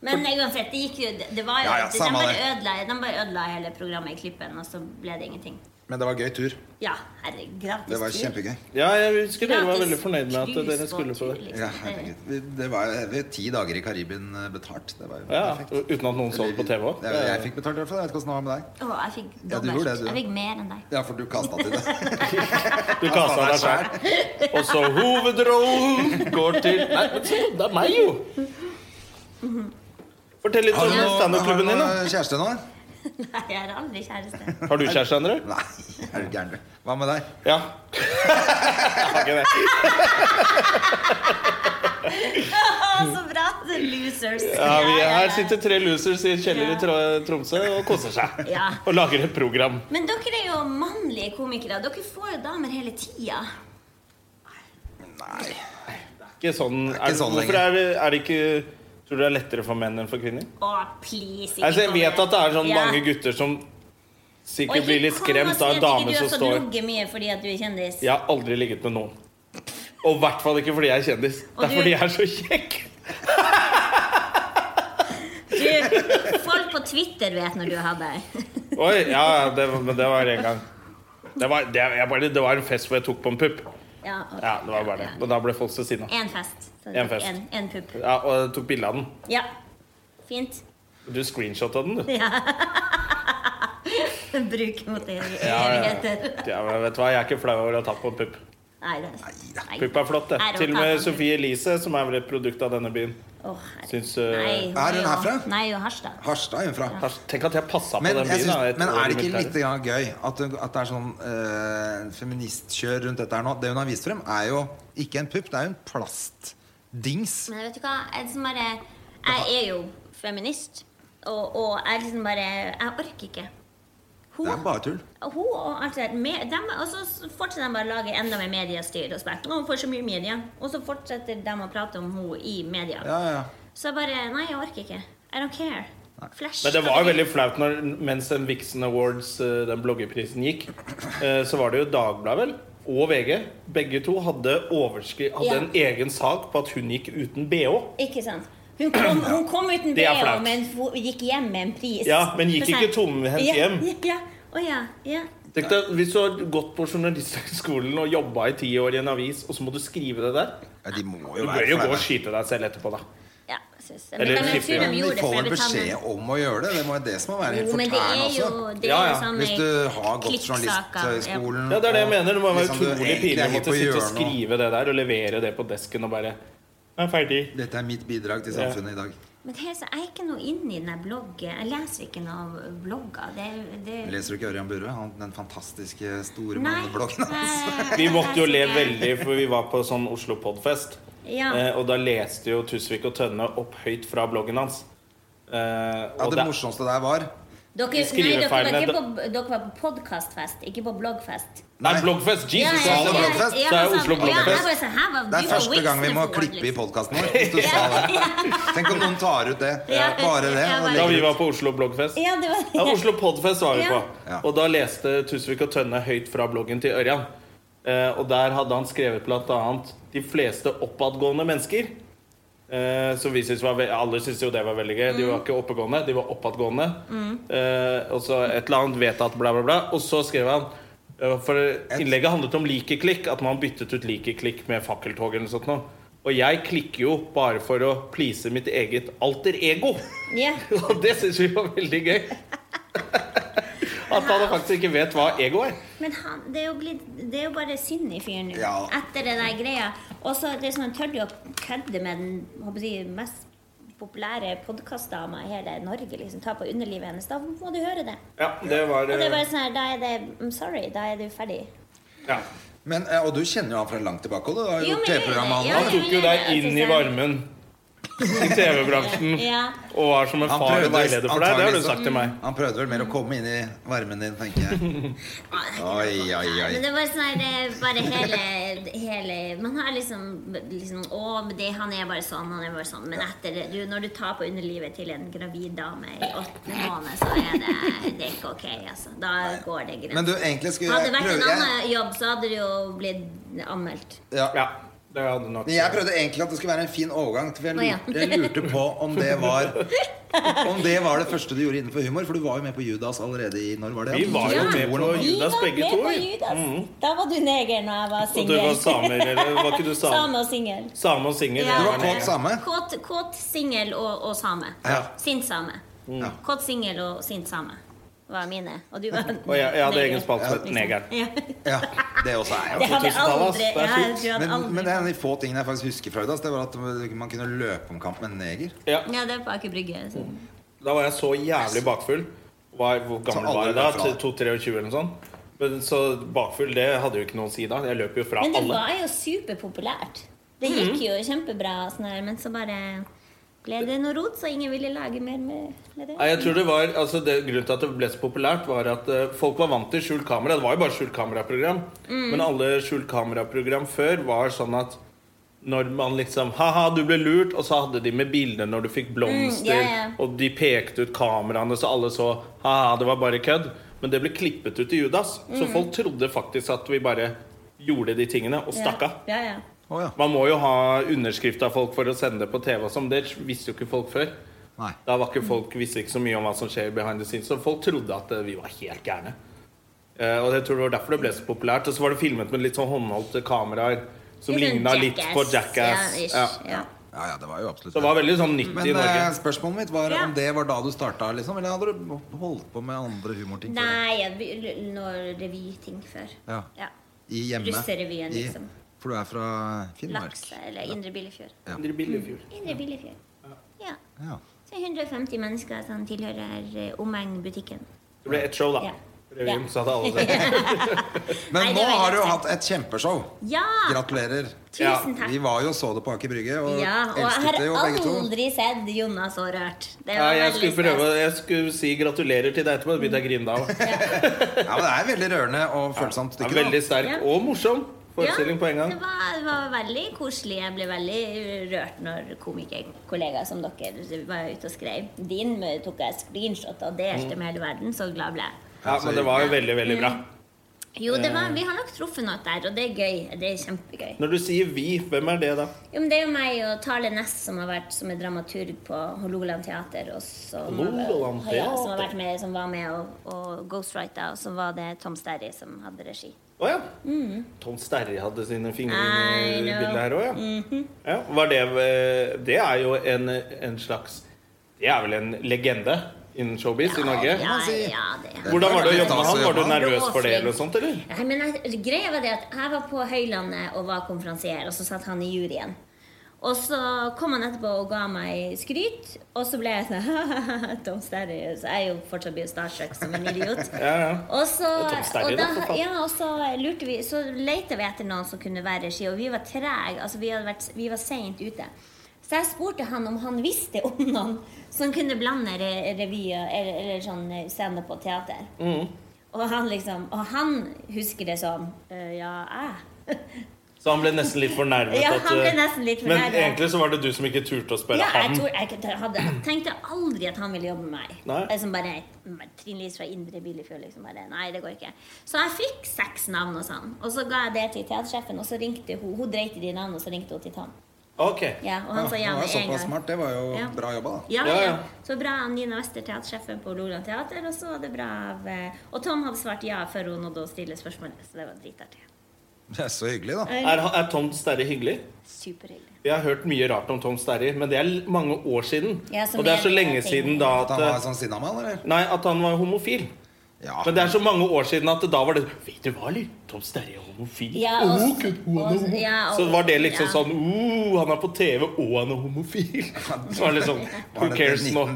Speaker 3: Men uansett, det gikk jo det, det var jo,
Speaker 2: Ja, ja,
Speaker 3: de,
Speaker 2: samme
Speaker 3: bare
Speaker 2: det.
Speaker 3: ødela, de bare ødela hele programmet i klippen, og så ble det ingenting.
Speaker 2: Men det var gøy tur.
Speaker 3: Ja, herregud. Gratis
Speaker 2: Det var
Speaker 3: tur.
Speaker 2: kjempegøy.
Speaker 1: Ja, jeg husker dere var
Speaker 3: Gratis
Speaker 1: veldig fornøyd med at dere
Speaker 3: cruise
Speaker 1: skulle
Speaker 3: på
Speaker 1: på
Speaker 3: tur,
Speaker 1: det.
Speaker 3: liksom.
Speaker 2: Ja, herregud. Vi- det var jo vi- ti dager i Karibien eh, betalt. Det var jo
Speaker 1: Ja,
Speaker 2: perfekt.
Speaker 1: Uten at noen så det på TV òg?
Speaker 2: Jeg, jeg fikk betalt i hvert fall. Jeg vet ikke hvordan det var med deg.
Speaker 3: Å, jeg fikk
Speaker 2: Ja, du
Speaker 3: dobbelt.
Speaker 2: gjorde det, du, ja.
Speaker 3: jeg fikk mer enn deg. *laughs*
Speaker 2: Ja, for du kasta til det.
Speaker 1: *laughs* Du kasta deg sjæl. Og så hovedrollen går til Nei, men se, det er meg, jo! Fortell litt
Speaker 2: Har
Speaker 1: om
Speaker 2: du noe, har du
Speaker 1: standup-klubben din. da
Speaker 2: noe kjæreste nå?
Speaker 3: Nei, jeg er aldri
Speaker 2: *laughs*
Speaker 3: kjæreste.
Speaker 1: Har du kjæreste, André?
Speaker 2: Nei, er du gæren, du. Hva med deg?
Speaker 1: Ja. Jeg har ikke det.
Speaker 3: Å, så bra! The losers.
Speaker 1: Ja, vi,
Speaker 3: Ja, ja,
Speaker 1: her
Speaker 3: ja.
Speaker 1: sitter tre losers i en kjeller i Tro- Tromsø og koser seg.
Speaker 3: Ja.
Speaker 1: Og lager et program.
Speaker 3: Men dere er jo mannlige komikere. Dere får jo damer hele tida.
Speaker 2: Nei.
Speaker 1: Ikke sånn, er,
Speaker 2: sånn
Speaker 1: hvorfor
Speaker 2: lenger.
Speaker 1: er, det- er det ikke Tror du det er lettere for menn enn for kvinner?
Speaker 3: Å, please, ikke
Speaker 1: Altså, jeg
Speaker 3: kom
Speaker 1: vet
Speaker 3: med-
Speaker 1: at det er sånn
Speaker 3: Ja.
Speaker 1: mange gutter som sikkert blir litt
Speaker 3: kom og
Speaker 1: skremt av en
Speaker 3: si at ikke sånn
Speaker 1: dame
Speaker 3: altså, du
Speaker 1: som
Speaker 3: har fått
Speaker 1: står
Speaker 3: ligge mye fordi at du er kjendis.
Speaker 1: Jeg har aldri ligget med noen. Og i hvert fall ikke fordi jeg er kjendis. Det
Speaker 3: Og
Speaker 1: er
Speaker 3: du-
Speaker 1: fordi jeg er så kjekk.
Speaker 3: Du, folk på Twitter vet når du har deg.
Speaker 1: Oi, ja, ja, det, men det var en gang. Det var, det, jeg bare, det var en fest hvor jeg tok på en pupp.
Speaker 3: *laughs* Ja, ok.
Speaker 1: Ja, det var bare det. Men da ble folk så sinna.
Speaker 3: En fest. Så
Speaker 1: En fest.
Speaker 3: En, en pupp.
Speaker 1: Ja, og jeg tok bilde av den.
Speaker 3: Ja. Fint. *laughs*
Speaker 1: Du screenshotta den, du.
Speaker 3: Bruk mot det i
Speaker 1: *laughs* Ja, ja.
Speaker 3: evigheter.
Speaker 1: ja, men vet du hva, Jeg er ikke flau over å ha tatt på en pupp.
Speaker 3: Nei, det er
Speaker 2: da.
Speaker 3: Nei.
Speaker 1: Pupp er flott, det.
Speaker 3: Er det
Speaker 1: Til og med
Speaker 3: å ta på en pupp?
Speaker 1: Sofie Elise, som er vel et produkt av denne byen.
Speaker 3: Åh, herregud.
Speaker 1: Syns, uh,
Speaker 3: Nei,
Speaker 2: Er hun
Speaker 3: jo-
Speaker 2: herfra?
Speaker 3: Nei, hun er Harstad.
Speaker 2: Harstad er hun fra.
Speaker 1: Kanskje- Tenk at jeg passa på
Speaker 2: Men,
Speaker 1: den
Speaker 2: jeg
Speaker 1: byen.
Speaker 2: syns-
Speaker 1: da, et
Speaker 2: men
Speaker 1: år i
Speaker 2: er det ikke
Speaker 1: militæret.
Speaker 2: litt grann gøy at, det- at det er sånn eh, feministkjør rundt dette her nå? Det hun har vist frem, er jo ikke en pupp, det er jo en plastdings.
Speaker 3: Men vet du hva? Jeg, liksom bare, jeg er jo feminist. Og, og jeg liksom bare Jeg orker ikke. Hun,
Speaker 2: Det er bare tull.
Speaker 3: hun og alt det der med- dem- Og så s- fortsetter de bare å lage enda mer mediestyr. Og så bare, «Å, hun får så mye media. Og så fortsetter de å prate om henne i media.
Speaker 2: Ja, ja.
Speaker 3: Så jeg bare Nei, jeg orker ikke. I don't care. Flash.
Speaker 1: Men det var jo veldig flaut når, mens den Vixen Awards, eh, den bloggerprisen, gikk. eh, Så var det jo Dagbladet, vel, og VG. Begge to hadde, overskri hadde
Speaker 3: Ja.
Speaker 1: en egen sak på at hun gikk uten bh.
Speaker 3: Ikke sant? Hun kom, hun kom uten
Speaker 1: Det er
Speaker 3: BH,
Speaker 1: flaut.
Speaker 3: men hun gikk hjem med en pris.
Speaker 1: Ja, men gikk
Speaker 3: Så sa jeg,
Speaker 1: ikke tomhendt
Speaker 3: ja,
Speaker 1: hjem.
Speaker 3: Ja, Å ja, ja.
Speaker 1: Tenk deg, Hvis du har gått på journalistskolen og jobba i ti år i en avis, og så må du skrive det der
Speaker 2: ja de må
Speaker 1: Du
Speaker 2: jo
Speaker 1: bør
Speaker 2: være
Speaker 1: jo gå og
Speaker 2: flaue.
Speaker 1: skyte deg selv etterpå, da.
Speaker 3: ja synes jeg.
Speaker 1: Eller
Speaker 3: Men jeg
Speaker 1: skifte
Speaker 3: tror
Speaker 1: hjem.
Speaker 3: de
Speaker 2: Men
Speaker 3: gjorde
Speaker 2: de
Speaker 3: det
Speaker 2: får
Speaker 3: for å
Speaker 2: vel
Speaker 3: betale.
Speaker 2: beskjed om å gjøre det. Det må være det som må være helt
Speaker 3: Jo, men det er
Speaker 2: fortærende
Speaker 3: jo
Speaker 2: også.
Speaker 3: det
Speaker 1: Ja,
Speaker 3: er
Speaker 1: ja.
Speaker 3: jo sånn
Speaker 2: Hvis du har gått
Speaker 3: klikksaker,
Speaker 2: journalistskolen
Speaker 1: Ja, Det er det jeg
Speaker 2: og
Speaker 1: mener. Det må være
Speaker 2: liksom du
Speaker 1: utrolig
Speaker 2: egentlig
Speaker 1: pinlig
Speaker 2: er
Speaker 1: å
Speaker 2: helt
Speaker 1: måtte
Speaker 2: på
Speaker 1: sitte og
Speaker 2: hjørnet.
Speaker 1: skrive det der og levere det på desken og bare Jeg er ferdig.
Speaker 2: Dette er mitt bidrag til samfunnet i dag.
Speaker 3: Men det, er så- jeg er ikke noe inne i den der bloggen. Jeg leser ikke noe blogger. Det, det,
Speaker 2: Leser du ikke Ørjan Burøe? Han- Den fantastiske store
Speaker 3: nei.
Speaker 2: mannebloggen hans.
Speaker 3: jeg-
Speaker 1: Vi måtte jo le
Speaker 3: jeg-
Speaker 1: veldig, for vi var på sånn Oslo Podfest.
Speaker 3: Ja.
Speaker 1: Eh, og da leste jo Tusvik og Tønne opp høyt fra bloggen hans. Eh,
Speaker 2: Ja,
Speaker 1: og
Speaker 2: det
Speaker 1: det,
Speaker 2: morsomste der var
Speaker 3: Dere, nei,
Speaker 1: skriver
Speaker 3: dere, var
Speaker 1: feil, men
Speaker 3: ikke på, dere var på podkastfest, ikke på bloggfest.
Speaker 1: nei, bloggfest! Jesus!
Speaker 2: ja,
Speaker 1: alle
Speaker 2: ja.
Speaker 1: bloggfest. Det er Oslo
Speaker 3: sånn-
Speaker 1: Bloggfest.
Speaker 2: Det er første gang vi må klippe
Speaker 3: liksom.
Speaker 2: i podkasten
Speaker 3: *laughs*
Speaker 2: vår. Hvis du sa det. Tenk om noen tar ut det.
Speaker 3: Ja.
Speaker 2: Bare det. og
Speaker 3: Ja,
Speaker 1: Da
Speaker 2: legger
Speaker 1: vi
Speaker 2: ut.
Speaker 1: var på Oslo Bloggfest.
Speaker 3: Ja, det var
Speaker 1: Ja, Oslo Podfest var vi
Speaker 3: Ja.
Speaker 1: på.
Speaker 2: Ja.
Speaker 1: Og da leste Tusvik og Tønne høyt fra bloggen til Ørjan. Eh, og der hadde han skrevet blant annet 'De fleste oppadgående mennesker'. Eh, som vi synes var ve Alle syntes jo det var veldig gøy. De var ikke oppegående, de var oppadgående. Eh, og så et eller annet vedtatt, bla, bla, bla. Og så skrev han eh, For innlegget handlet om likeklikk. At man byttet ut likeklikk med fakkeltog eller noe sånt. noe. Og jeg klikker jo bare for å please mitt eget alter ego.
Speaker 3: *laughs* Ja.
Speaker 1: *laughs* Og det syns vi var veldig gøy. At han faktisk ikke vet hva ego er.
Speaker 3: Men han, det, er jo blitt, det er jo bare synd i fyren nå.
Speaker 2: Ja.
Speaker 3: Etter det der greia. Og så er det sånn, tør du å kødde med den håper jeg, å si, mest populære podkastdama i hele Norge? liksom, Ta på underlivet hennes. Da må du høre det.
Speaker 1: Ja, det var,
Speaker 3: Og det er
Speaker 1: eh,
Speaker 3: bare sånn her, da er det I'm sorry. Da er du ferdig.
Speaker 1: ja.
Speaker 2: Men, eh, og du kjenner jo han fra langt tilbake. Og du har
Speaker 3: Jo,
Speaker 2: gjort
Speaker 3: men jeg
Speaker 2: TV-program med
Speaker 3: gjør det,
Speaker 1: Han
Speaker 2: han òg.
Speaker 1: tok jo deg inn i varmen i TV-bransjen
Speaker 3: Ja.
Speaker 1: og var som en
Speaker 2: Han
Speaker 1: far og
Speaker 2: prøvde
Speaker 1: veileder for deg. Det har du
Speaker 2: antageligvis-
Speaker 1: sagt til meg.
Speaker 2: Han prøvde vel mer å komme inn i varmen din, tenker
Speaker 3: *laughs*
Speaker 2: jeg. Oi, oi,
Speaker 3: Men
Speaker 2: oi.
Speaker 3: det var sånn her, det er bare hele, hele Man har liksom, liksom Å, men det, han er bare sånn, han er bare sånn. Men etter det, du, når du tar på underlivet til en gravid dame i åttende måned, så er det, det er ikke ok, altså. Da går det greit.
Speaker 2: Men eh, du, egentlig skulle
Speaker 3: Hadde
Speaker 2: jeg
Speaker 3: det vært en
Speaker 2: prøve jeg,
Speaker 3: annen jobb, så hadde det jo blitt anmeldt.
Speaker 2: ja.
Speaker 1: Ja, det hadde nok
Speaker 2: Men jeg prøvde egentlig at det skulle være en fin overgang. For jeg
Speaker 3: Å, ja.
Speaker 2: lurte, jeg lurte på om det var
Speaker 3: *laughs*
Speaker 2: Om det var det første du gjorde innenfor humor. For du var jo med på Judas allerede i Når var det?
Speaker 1: Vi var jo med på
Speaker 2: Ja.
Speaker 1: Judas begge to.
Speaker 3: på
Speaker 1: jo.
Speaker 3: Judas. Da var du neger når jeg var
Speaker 1: Og du var
Speaker 3: singel.
Speaker 1: samer, eller var ikke du same?
Speaker 3: Same og singel.
Speaker 1: Same og singel.
Speaker 3: Ja.
Speaker 2: Du var kåt same?
Speaker 3: Kåt, kåt singel og, og same.
Speaker 2: Ja. Mm.
Speaker 3: Sint same.
Speaker 2: Ja.
Speaker 3: Kåt singel og sint same var mine.
Speaker 2: *laughs*
Speaker 3: Og du var
Speaker 1: Og jeg, jeg hadde
Speaker 3: neger.
Speaker 1: egen spalte som het Negeren.
Speaker 2: Ja,
Speaker 3: Ja.
Speaker 2: det også er jo
Speaker 3: Det hadde jeg
Speaker 1: 2000-tallet, ass.
Speaker 3: aldri,
Speaker 1: Det er
Speaker 3: ja, jeg
Speaker 1: sjukt.
Speaker 3: tror jeg hadde
Speaker 2: Men,
Speaker 3: aldri.
Speaker 2: men det er en av de få tingene jeg faktisk husker fra Judas, det var at man kunne løpe om kamp med en neger.
Speaker 1: Ja,
Speaker 3: Ja, det er på Aker Brygge. altså. så-
Speaker 1: da var jeg så jævlig bakfull. Var, hvor
Speaker 2: Så
Speaker 1: gammel
Speaker 2: alle
Speaker 1: var jeg
Speaker 2: løp
Speaker 1: da?
Speaker 2: fra deg.
Speaker 1: 22-23 eller noe sånt? Men så bakfull, det hadde jo ikke noe å si da. Jeg løp jo fra
Speaker 3: Men det
Speaker 1: alle. Mhm.
Speaker 3: var jo superpopulært. Det gikk jo kjempebra, og sånn her, men så bare ble det noe rot, så ingen ville lage mer med, med det.
Speaker 1: Nei, jeg tror det var, altså det, Grunnen til at det ble så populært, var at eh, folk var vant til skjult kamera. Det var jo bare skjult kameraprogram.
Speaker 3: Mm.
Speaker 1: Men alle skjult kameraprogram før var sånn at når man liksom Ha-ha, du ble lurt. Og så hadde de med bilder når du fikk blomster.
Speaker 3: Mm, ja, ja.
Speaker 1: Og de pekte ut kameraene, så alle så Ha-ha, det var bare kødd. Men det ble klippet ut i Judas.
Speaker 3: Mm.
Speaker 1: Så folk trodde faktisk at vi bare gjorde de tingene, og stakk av.
Speaker 3: Ja, ja.
Speaker 2: Å ja.
Speaker 1: Man må jo ha underskrift av folk for å sende det på TV og sånn. Det visste jo ikke folk før.
Speaker 2: Nei.
Speaker 1: Da var ikke folk, visste ikke så mye om hva som skjer behind the scenes, så folk trodde at eh, vi var helt gærne. Eh, og jeg tror det var derfor det ble så populært. Og så var det filmet med litt sånn håndholdte kameraer som
Speaker 3: Litt sånn
Speaker 1: ligna litt på Jackass.
Speaker 3: Ja, ish,
Speaker 1: Ja.
Speaker 3: ja.
Speaker 2: Ja, ja, det var jo absolutt
Speaker 1: Så det var veldig sånn nytt
Speaker 2: Men
Speaker 1: i Norge.
Speaker 2: eh, spørsmålet mitt var
Speaker 3: Ja.
Speaker 2: om det var da du starta, liksom? Eller hadde du holdt på med andre humorting? før det?
Speaker 3: Nei, jeg begynte noe revyting før.
Speaker 2: Ja.
Speaker 3: Ja.
Speaker 2: I hjemme?
Speaker 3: Russerevyen,
Speaker 2: I-
Speaker 3: liksom.
Speaker 2: For du er fra Finnmark?
Speaker 3: Lakse eller Indre Billefjord.
Speaker 1: Indre Billefjord.
Speaker 3: Indre Billefjord. Ja.
Speaker 2: Ja.
Speaker 3: Så 150 mennesker som tilhører eh, omegn butikken.
Speaker 1: Det ble ett show, da.
Speaker 3: Ja.
Speaker 1: Revyen, så hadde alle
Speaker 3: *laughs*
Speaker 1: sett.
Speaker 2: Men
Speaker 3: Nei, det
Speaker 2: nå
Speaker 3: var
Speaker 2: har du jo hatt
Speaker 3: helt
Speaker 2: et kjempeshow.
Speaker 3: Ja!
Speaker 2: Gratulerer.
Speaker 1: Ja,
Speaker 3: Tusen takk.
Speaker 2: Vi var jo og så det på Aker Brygge, og
Speaker 3: Ja, og jeg
Speaker 2: elsket
Speaker 3: har
Speaker 2: det jo begge to.
Speaker 3: aldri sett Jonas så rørt. Det
Speaker 1: Ja,
Speaker 3: var
Speaker 1: jeg
Speaker 3: veldig
Speaker 1: skulle prøve Jeg skulle si gratulerer til deg etterpå. Da begynte jeg å grine da.
Speaker 2: *laughs*
Speaker 1: også.
Speaker 2: Ja, men Det er veldig rørende og
Speaker 1: Det er
Speaker 2: følsomt stykke.
Speaker 1: en
Speaker 2: da.
Speaker 1: veldig sterk
Speaker 3: Ja.
Speaker 1: og morsom forestilling
Speaker 3: Ja,
Speaker 1: på en gang.
Speaker 3: Det var, det var veldig koselig. Jeg ble veldig rørt når komikerkollegaer som dere var ute og skrev. Din med- tok jeg screenshot og delte
Speaker 1: Mm.
Speaker 3: med hele verden. Så glad ble jeg.
Speaker 1: Ja, men det var jo veldig, veldig bra.
Speaker 3: Jo, det
Speaker 1: Eh.
Speaker 3: var, vi har nok truffet noe der, og det er gøy. Det er kjempegøy.
Speaker 1: Når du sier 'vi', hvem er det da?
Speaker 3: Jo, men det er jo meg og Tale Næss som har vært som er dramaturg på Hålogaland teater. Og som,
Speaker 1: Hålogaland
Speaker 3: har- Ja, som, har
Speaker 1: Teater.
Speaker 3: vært med, som var med og, og ghostwrita, og så var det Tom Sterry som hadde regi.
Speaker 1: Å ja.
Speaker 3: Mm.
Speaker 1: Tom Sterry hadde sine fingre
Speaker 3: I
Speaker 1: i
Speaker 3: know.
Speaker 1: bildet her òg, ja.
Speaker 3: Mhm.
Speaker 1: ja. Var det eh, Det er jo en, en slags Det er vel en legende innen showbiz i Norge?
Speaker 3: Ja,
Speaker 2: man si.
Speaker 3: ja, det.
Speaker 1: Hvordan var det å jobbe med han? Var du
Speaker 2: Han
Speaker 1: nervøs
Speaker 3: var
Speaker 1: for det eller noe
Speaker 3: flink.
Speaker 1: sånt, eller?
Speaker 3: Nei, men jeg, greia var det at jeg var på Høylandet og var konferansier, og så satt han i juryen. Og så kom han etterpå og ga meg skryt, og så ble jeg sånn *laughs* Tom Sterry. Så jeg er jo fortsatt blitt starstruck som en idiot.
Speaker 1: Ja, ja.
Speaker 3: Og så,
Speaker 1: Det er Tom Sterry,
Speaker 3: og
Speaker 1: da, for
Speaker 3: da,
Speaker 1: faen.
Speaker 3: ja, og så lurte vi Så lette vi etter noen som kunne være regi, og vi var trege. Altså, vi, hadde vært- vi var seint ute. Så jeg spurte han om han visste om noen som kunne blande re revyer eller, eller sånn eh, standup og teater.
Speaker 1: Mm.
Speaker 3: Og han liksom Og han husker det som eh, Ja, jeg.
Speaker 1: Så han ble nesten litt fornærmet?
Speaker 3: Ja,
Speaker 1: at,
Speaker 3: han ble
Speaker 1: eh,
Speaker 3: nesten litt fornærmet.
Speaker 1: Men egentlig så var det du som ikke turte å spørre
Speaker 3: Ja,
Speaker 1: han.
Speaker 3: jeg, tror, jeg, kunne- hadde, jeg tenkte aldri at han ville jobbe med meg.
Speaker 1: Nei.
Speaker 3: Jeg Som bare, mm, Trine Lise fra Indre Billefjord. Liksom bare, nei, det går ikke. Så jeg fikk seks navn hos han. Og så ga jeg det til teatersjefen, og så ringte hun. Hun dreit i de navnene, og så ringte hun til Tom.
Speaker 1: Ok.
Speaker 3: Ja, og han sa ja
Speaker 2: det var
Speaker 3: med en
Speaker 2: såpass
Speaker 3: gang.
Speaker 2: smart. Det var jo
Speaker 3: Ja.
Speaker 2: bra jobba, da.
Speaker 3: Ja,
Speaker 1: Ja,
Speaker 3: ja,
Speaker 1: ja.
Speaker 3: Så bra av Nina Wester, teatersjefen på Loland Teater. Og så var det bra av eh, Og Tom hadde svart ja før hun nådde å stille spørsmålet, så det var dritartig.
Speaker 2: Det er så hyggelig, da.
Speaker 1: Er, han- er Tom Sterry hyggelig?
Speaker 3: Superhyggelig.
Speaker 1: Vi har hørt mye rart om Tom Sterry, men det er l- mange år siden.
Speaker 3: Ja, som
Speaker 1: og det er så
Speaker 3: jeg-
Speaker 1: lenge
Speaker 3: jeg tenker-
Speaker 1: siden da
Speaker 2: At han var Ah.
Speaker 1: at
Speaker 2: sånn sinnamann, eller?
Speaker 1: Nei, at han var homofil.
Speaker 2: Ja.
Speaker 1: Men det er så mange år siden at da var det Vet du hva, eller? Tom Sterry er homofil.
Speaker 3: Ja,
Speaker 1: Åh,
Speaker 3: og-
Speaker 1: gud, hun er
Speaker 3: og-
Speaker 1: homofil.
Speaker 3: ja, og-
Speaker 1: så var det liksom
Speaker 3: ja.
Speaker 1: sånn oh, han er på TV, og han er
Speaker 2: *laughs*
Speaker 1: homofil. Så var det liksom Who
Speaker 2: Var det
Speaker 1: cares nå?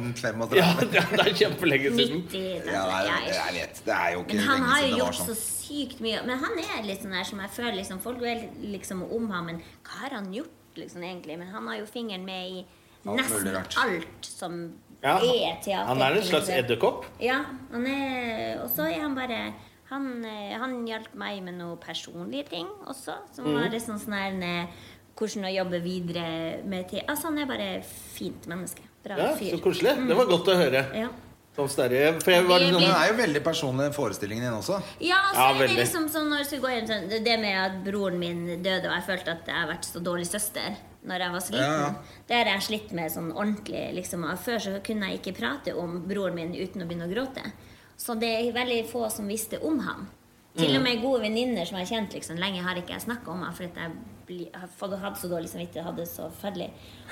Speaker 1: Ja,
Speaker 2: 1935?
Speaker 1: *laughs* ja, det er kjempelenge siden.
Speaker 3: 90
Speaker 2: Ja, det er,
Speaker 3: ja.
Speaker 2: jeg vet. Det er jo ikke
Speaker 3: Men han
Speaker 2: lenge
Speaker 3: har jo
Speaker 2: siden det var
Speaker 3: gjort så
Speaker 2: sånn.
Speaker 3: sykt mye. Men han er litt sånn her som jeg føler liksom, Folk er liksom om ham, men hva har han gjort liksom egentlig? Men han har jo fingeren med i
Speaker 2: Alt
Speaker 3: nesten
Speaker 2: mulig rart.
Speaker 3: alt som
Speaker 1: Ja,
Speaker 3: er teater.
Speaker 1: han er en slags
Speaker 3: egentlig.
Speaker 1: edderkopp.
Speaker 3: Ja, han er Og så er han bare han, eh, han hjalp meg med noen personlige ting også, som
Speaker 1: Mhm.
Speaker 3: var litt sånn sånn her eh, Hvordan å jobbe videre med te... Altså, han er bare fint menneske. Bra
Speaker 1: Ja,
Speaker 3: fyr. Mm.
Speaker 1: så koselig. Det var godt å høre.
Speaker 3: Ja.
Speaker 1: Tom Sterry. For jeg var litt
Speaker 2: Men
Speaker 1: sånn
Speaker 2: det er jo veldig personlig forestillingen din også.
Speaker 3: Ja, så
Speaker 1: Ja,
Speaker 3: er det
Speaker 1: veldig.
Speaker 3: liksom sånn når jeg skulle gå hjem sånn, det- Det med at broren min døde, og jeg følte at jeg har vært så dårlig søster når jeg var så liten,
Speaker 2: Ja, ja.
Speaker 3: det har jeg slitt med sånn ordentlig. liksom og Før så kunne jeg ikke prate om broren min uten å begynne å gråte. Så det er veldig få som visste om ham. Til og med gode venninner som jeg har kjent liksom, lenge, har ikke jeg snakka om ham fordi at jeg bli, har fått- hadde så dårlig samvittighet. hadde det så forferdelig.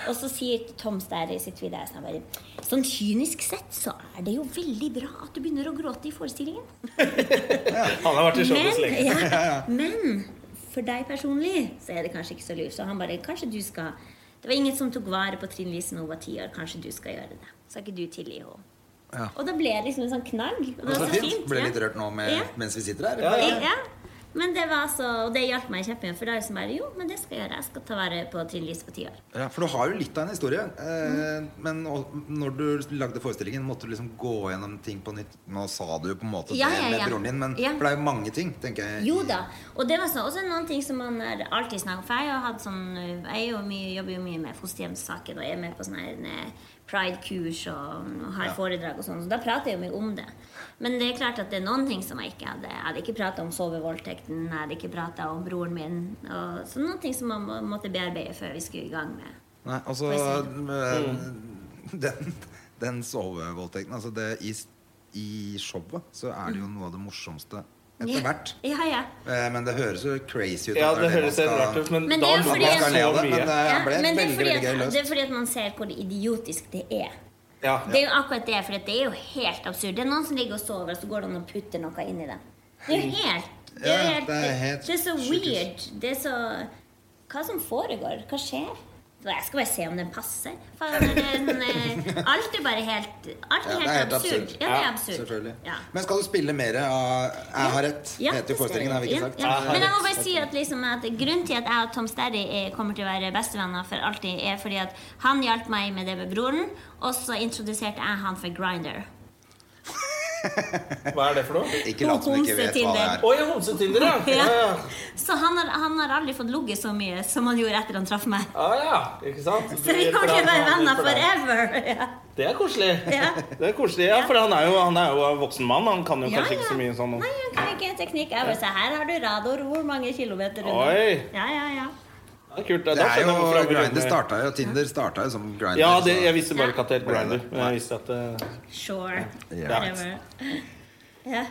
Speaker 3: Og så sier Tom Sterry i sitt video sånn, bare, sånn kynisk sett så er det jo veldig bra at du begynner å gråte i forestillingen.
Speaker 1: Han har vært i showbiz
Speaker 3: Men,
Speaker 1: lenge.
Speaker 3: ja, men for deg personlig så er det kanskje ikke så lurt. Så han bare Kanskje du skal Det var ingen som tok vare på Trine Lise når hun var ti år. Kanskje du skal gjøre det. Så har ikke du tilgi henne.
Speaker 2: Ja.
Speaker 3: Og da ble det liksom en sånn knagg. Og det
Speaker 2: Så
Speaker 3: var så
Speaker 2: fint.
Speaker 3: fint.
Speaker 2: Ble
Speaker 3: ja.
Speaker 2: litt rørt nå
Speaker 3: Ja.
Speaker 2: med, mens vi sitter her.
Speaker 1: Ja, ja.
Speaker 3: Ja. Men det var så Og det hjalp meg kjempemye. For da er det liksom bare Jo, men det skal jeg gjøre. Jeg skal ta vare på Trine Lise på ti år.
Speaker 2: Ja, for du har jo litt av en historie. Eh,
Speaker 3: Mm.
Speaker 2: men å- når du lagde forestillingen, måtte du liksom gå gjennom ting på nytt? Nå sa du jo på en måte
Speaker 3: Ja,
Speaker 2: det
Speaker 3: ja,
Speaker 2: med
Speaker 3: ja.
Speaker 2: broren din, men
Speaker 3: Ja.
Speaker 2: for det er jo mange ting, tenker jeg.
Speaker 3: Jo da. Og det var sånn, også noen ting som man har alltid snakket om. For jeg har hatt sånn, eh, jeg er jo mye, jobber jo mye med fosterhjemssaken og er med på sånne her, eh, pride-kurs og mm, har foredrag og sånn. Så da prater jeg jo mye om det. Men det er klart at det er noen ting som jeg ikke hadde. Jeg hadde ikke prata om sovevoldtekten, jeg hadde ikke prata om broren min. Og, så noen ting som man må, måtte bearbeide før vi skulle i gang med.
Speaker 2: Nei, altså eh,
Speaker 1: Mm.
Speaker 2: *laughs* Den, den sovevoldtekten altså det, i, I showet så er det jo noe av det morsomste etter hvert.
Speaker 3: Mm. Ja, ja.
Speaker 2: Eh, men det høres jo crazy ut.
Speaker 1: Ja,
Speaker 2: at
Speaker 1: det
Speaker 2: er man
Speaker 1: høres helt
Speaker 2: skal-
Speaker 1: rart ut, men,
Speaker 3: Men det
Speaker 1: da
Speaker 3: er jo
Speaker 1: lo man
Speaker 3: fordi-
Speaker 2: Man skal le
Speaker 1: så
Speaker 2: av det, men
Speaker 1: mye.
Speaker 2: det
Speaker 3: ja
Speaker 2: ble
Speaker 3: men det er,
Speaker 2: veldig,
Speaker 3: fordi
Speaker 2: veldig gøy
Speaker 3: at,
Speaker 2: løst.
Speaker 3: det er fordi at man ser hvor idiotisk det er.
Speaker 1: Ja.
Speaker 3: Det er jo akkurat det, for det er jo helt absurd. Det er noen som ligger og sover, og så går det an å putte noe inn i dem. Det er jo helt Det er,
Speaker 2: Ja,
Speaker 3: jo
Speaker 2: det er helt
Speaker 3: det er så
Speaker 2: sjukehus.
Speaker 3: weird. Det er så Hva som foregår? Hva skjer? Så Jeg skal bare se om den passer. Faen, det er en, eh, Alt er bare helt Alt
Speaker 2: Ja,
Speaker 3: er
Speaker 2: det
Speaker 3: helt,
Speaker 2: er helt
Speaker 3: absurd.
Speaker 2: absurd.
Speaker 3: Ja, det er
Speaker 1: Ja,
Speaker 3: absurd.
Speaker 2: Selvfølgelig.
Speaker 3: Ja.
Speaker 2: Men skal du spille mer av eh, 'Jeg har rett'?
Speaker 3: Ja,
Speaker 2: heter jo forestillingen, har vi ikke
Speaker 3: ja,
Speaker 2: sagt?
Speaker 3: ja.
Speaker 1: Jeg har
Speaker 3: Men jeg må
Speaker 1: rett.
Speaker 3: bare si at, liksom, at grunnen til at jeg og Tom Sterry er- kommer til å være bestevenner for alltid, er fordi at han hjalp meg med det med broren, og så introduserte jeg han for Grinder.
Speaker 1: eh, Hva er det for noe?
Speaker 2: Ikke lat som du ikke vet hva det er.
Speaker 1: Å ja, homsetinder,
Speaker 3: *laughs*
Speaker 1: ja. Ja, ja.
Speaker 3: Så han har, han har aldri fått ligget så mye som han gjorde etter han traff meg.
Speaker 1: Ah, ja. Ikke sant?
Speaker 3: Så vi kommer til å være venner forever. Ja.
Speaker 1: Det er koselig.
Speaker 3: Ja.
Speaker 1: Det er koselig, ja, For han er jo, han er jo en voksen mann. Han kan jo
Speaker 3: Ja,
Speaker 1: kanskje ikke
Speaker 3: ja.
Speaker 1: så mye sånn
Speaker 3: Nei, han kan ikke teknikk. Jeg bare sa, her har du radar hvor mange kilometer unna.
Speaker 1: Oi.
Speaker 3: Ja, ja, ja.
Speaker 1: Det er kult. Da
Speaker 2: Det er
Speaker 1: skjønner jeg hvorfor
Speaker 2: jo
Speaker 1: han vil jobbe
Speaker 2: Grindr
Speaker 1: med-
Speaker 2: starta jo Tinder starta jo som Grindr.
Speaker 1: Ja, det,
Speaker 2: så-
Speaker 1: jeg visste bare ikke at det het
Speaker 2: Ja.
Speaker 1: Grinder. Men jeg visste at eh,
Speaker 3: Sure.
Speaker 2: Ja.
Speaker 3: Whatever. Ja.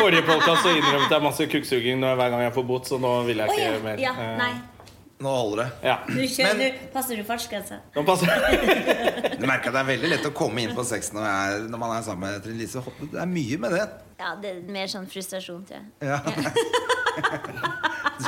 Speaker 1: Forrige podcast så innrømte jeg masse kukksuging når- hver gang jeg får bot, så nå vil jeg
Speaker 3: Å
Speaker 1: ikke
Speaker 3: ja.
Speaker 1: mer.
Speaker 3: ja.
Speaker 1: Eh,
Speaker 3: Nei.
Speaker 2: Nå holder det.
Speaker 1: Ja.
Speaker 3: Du kjører,
Speaker 2: Men-
Speaker 3: du passer du fartsgrensa?
Speaker 1: Nå passer det.
Speaker 2: Du merker at det er veldig lett å komme inn på sex når, jeg er, når man er sammen med Trine Lise. Hoppe. Det er mye med det.
Speaker 3: Ja, det er mer sånn frustrasjon til.
Speaker 1: *laughs*
Speaker 2: Ja.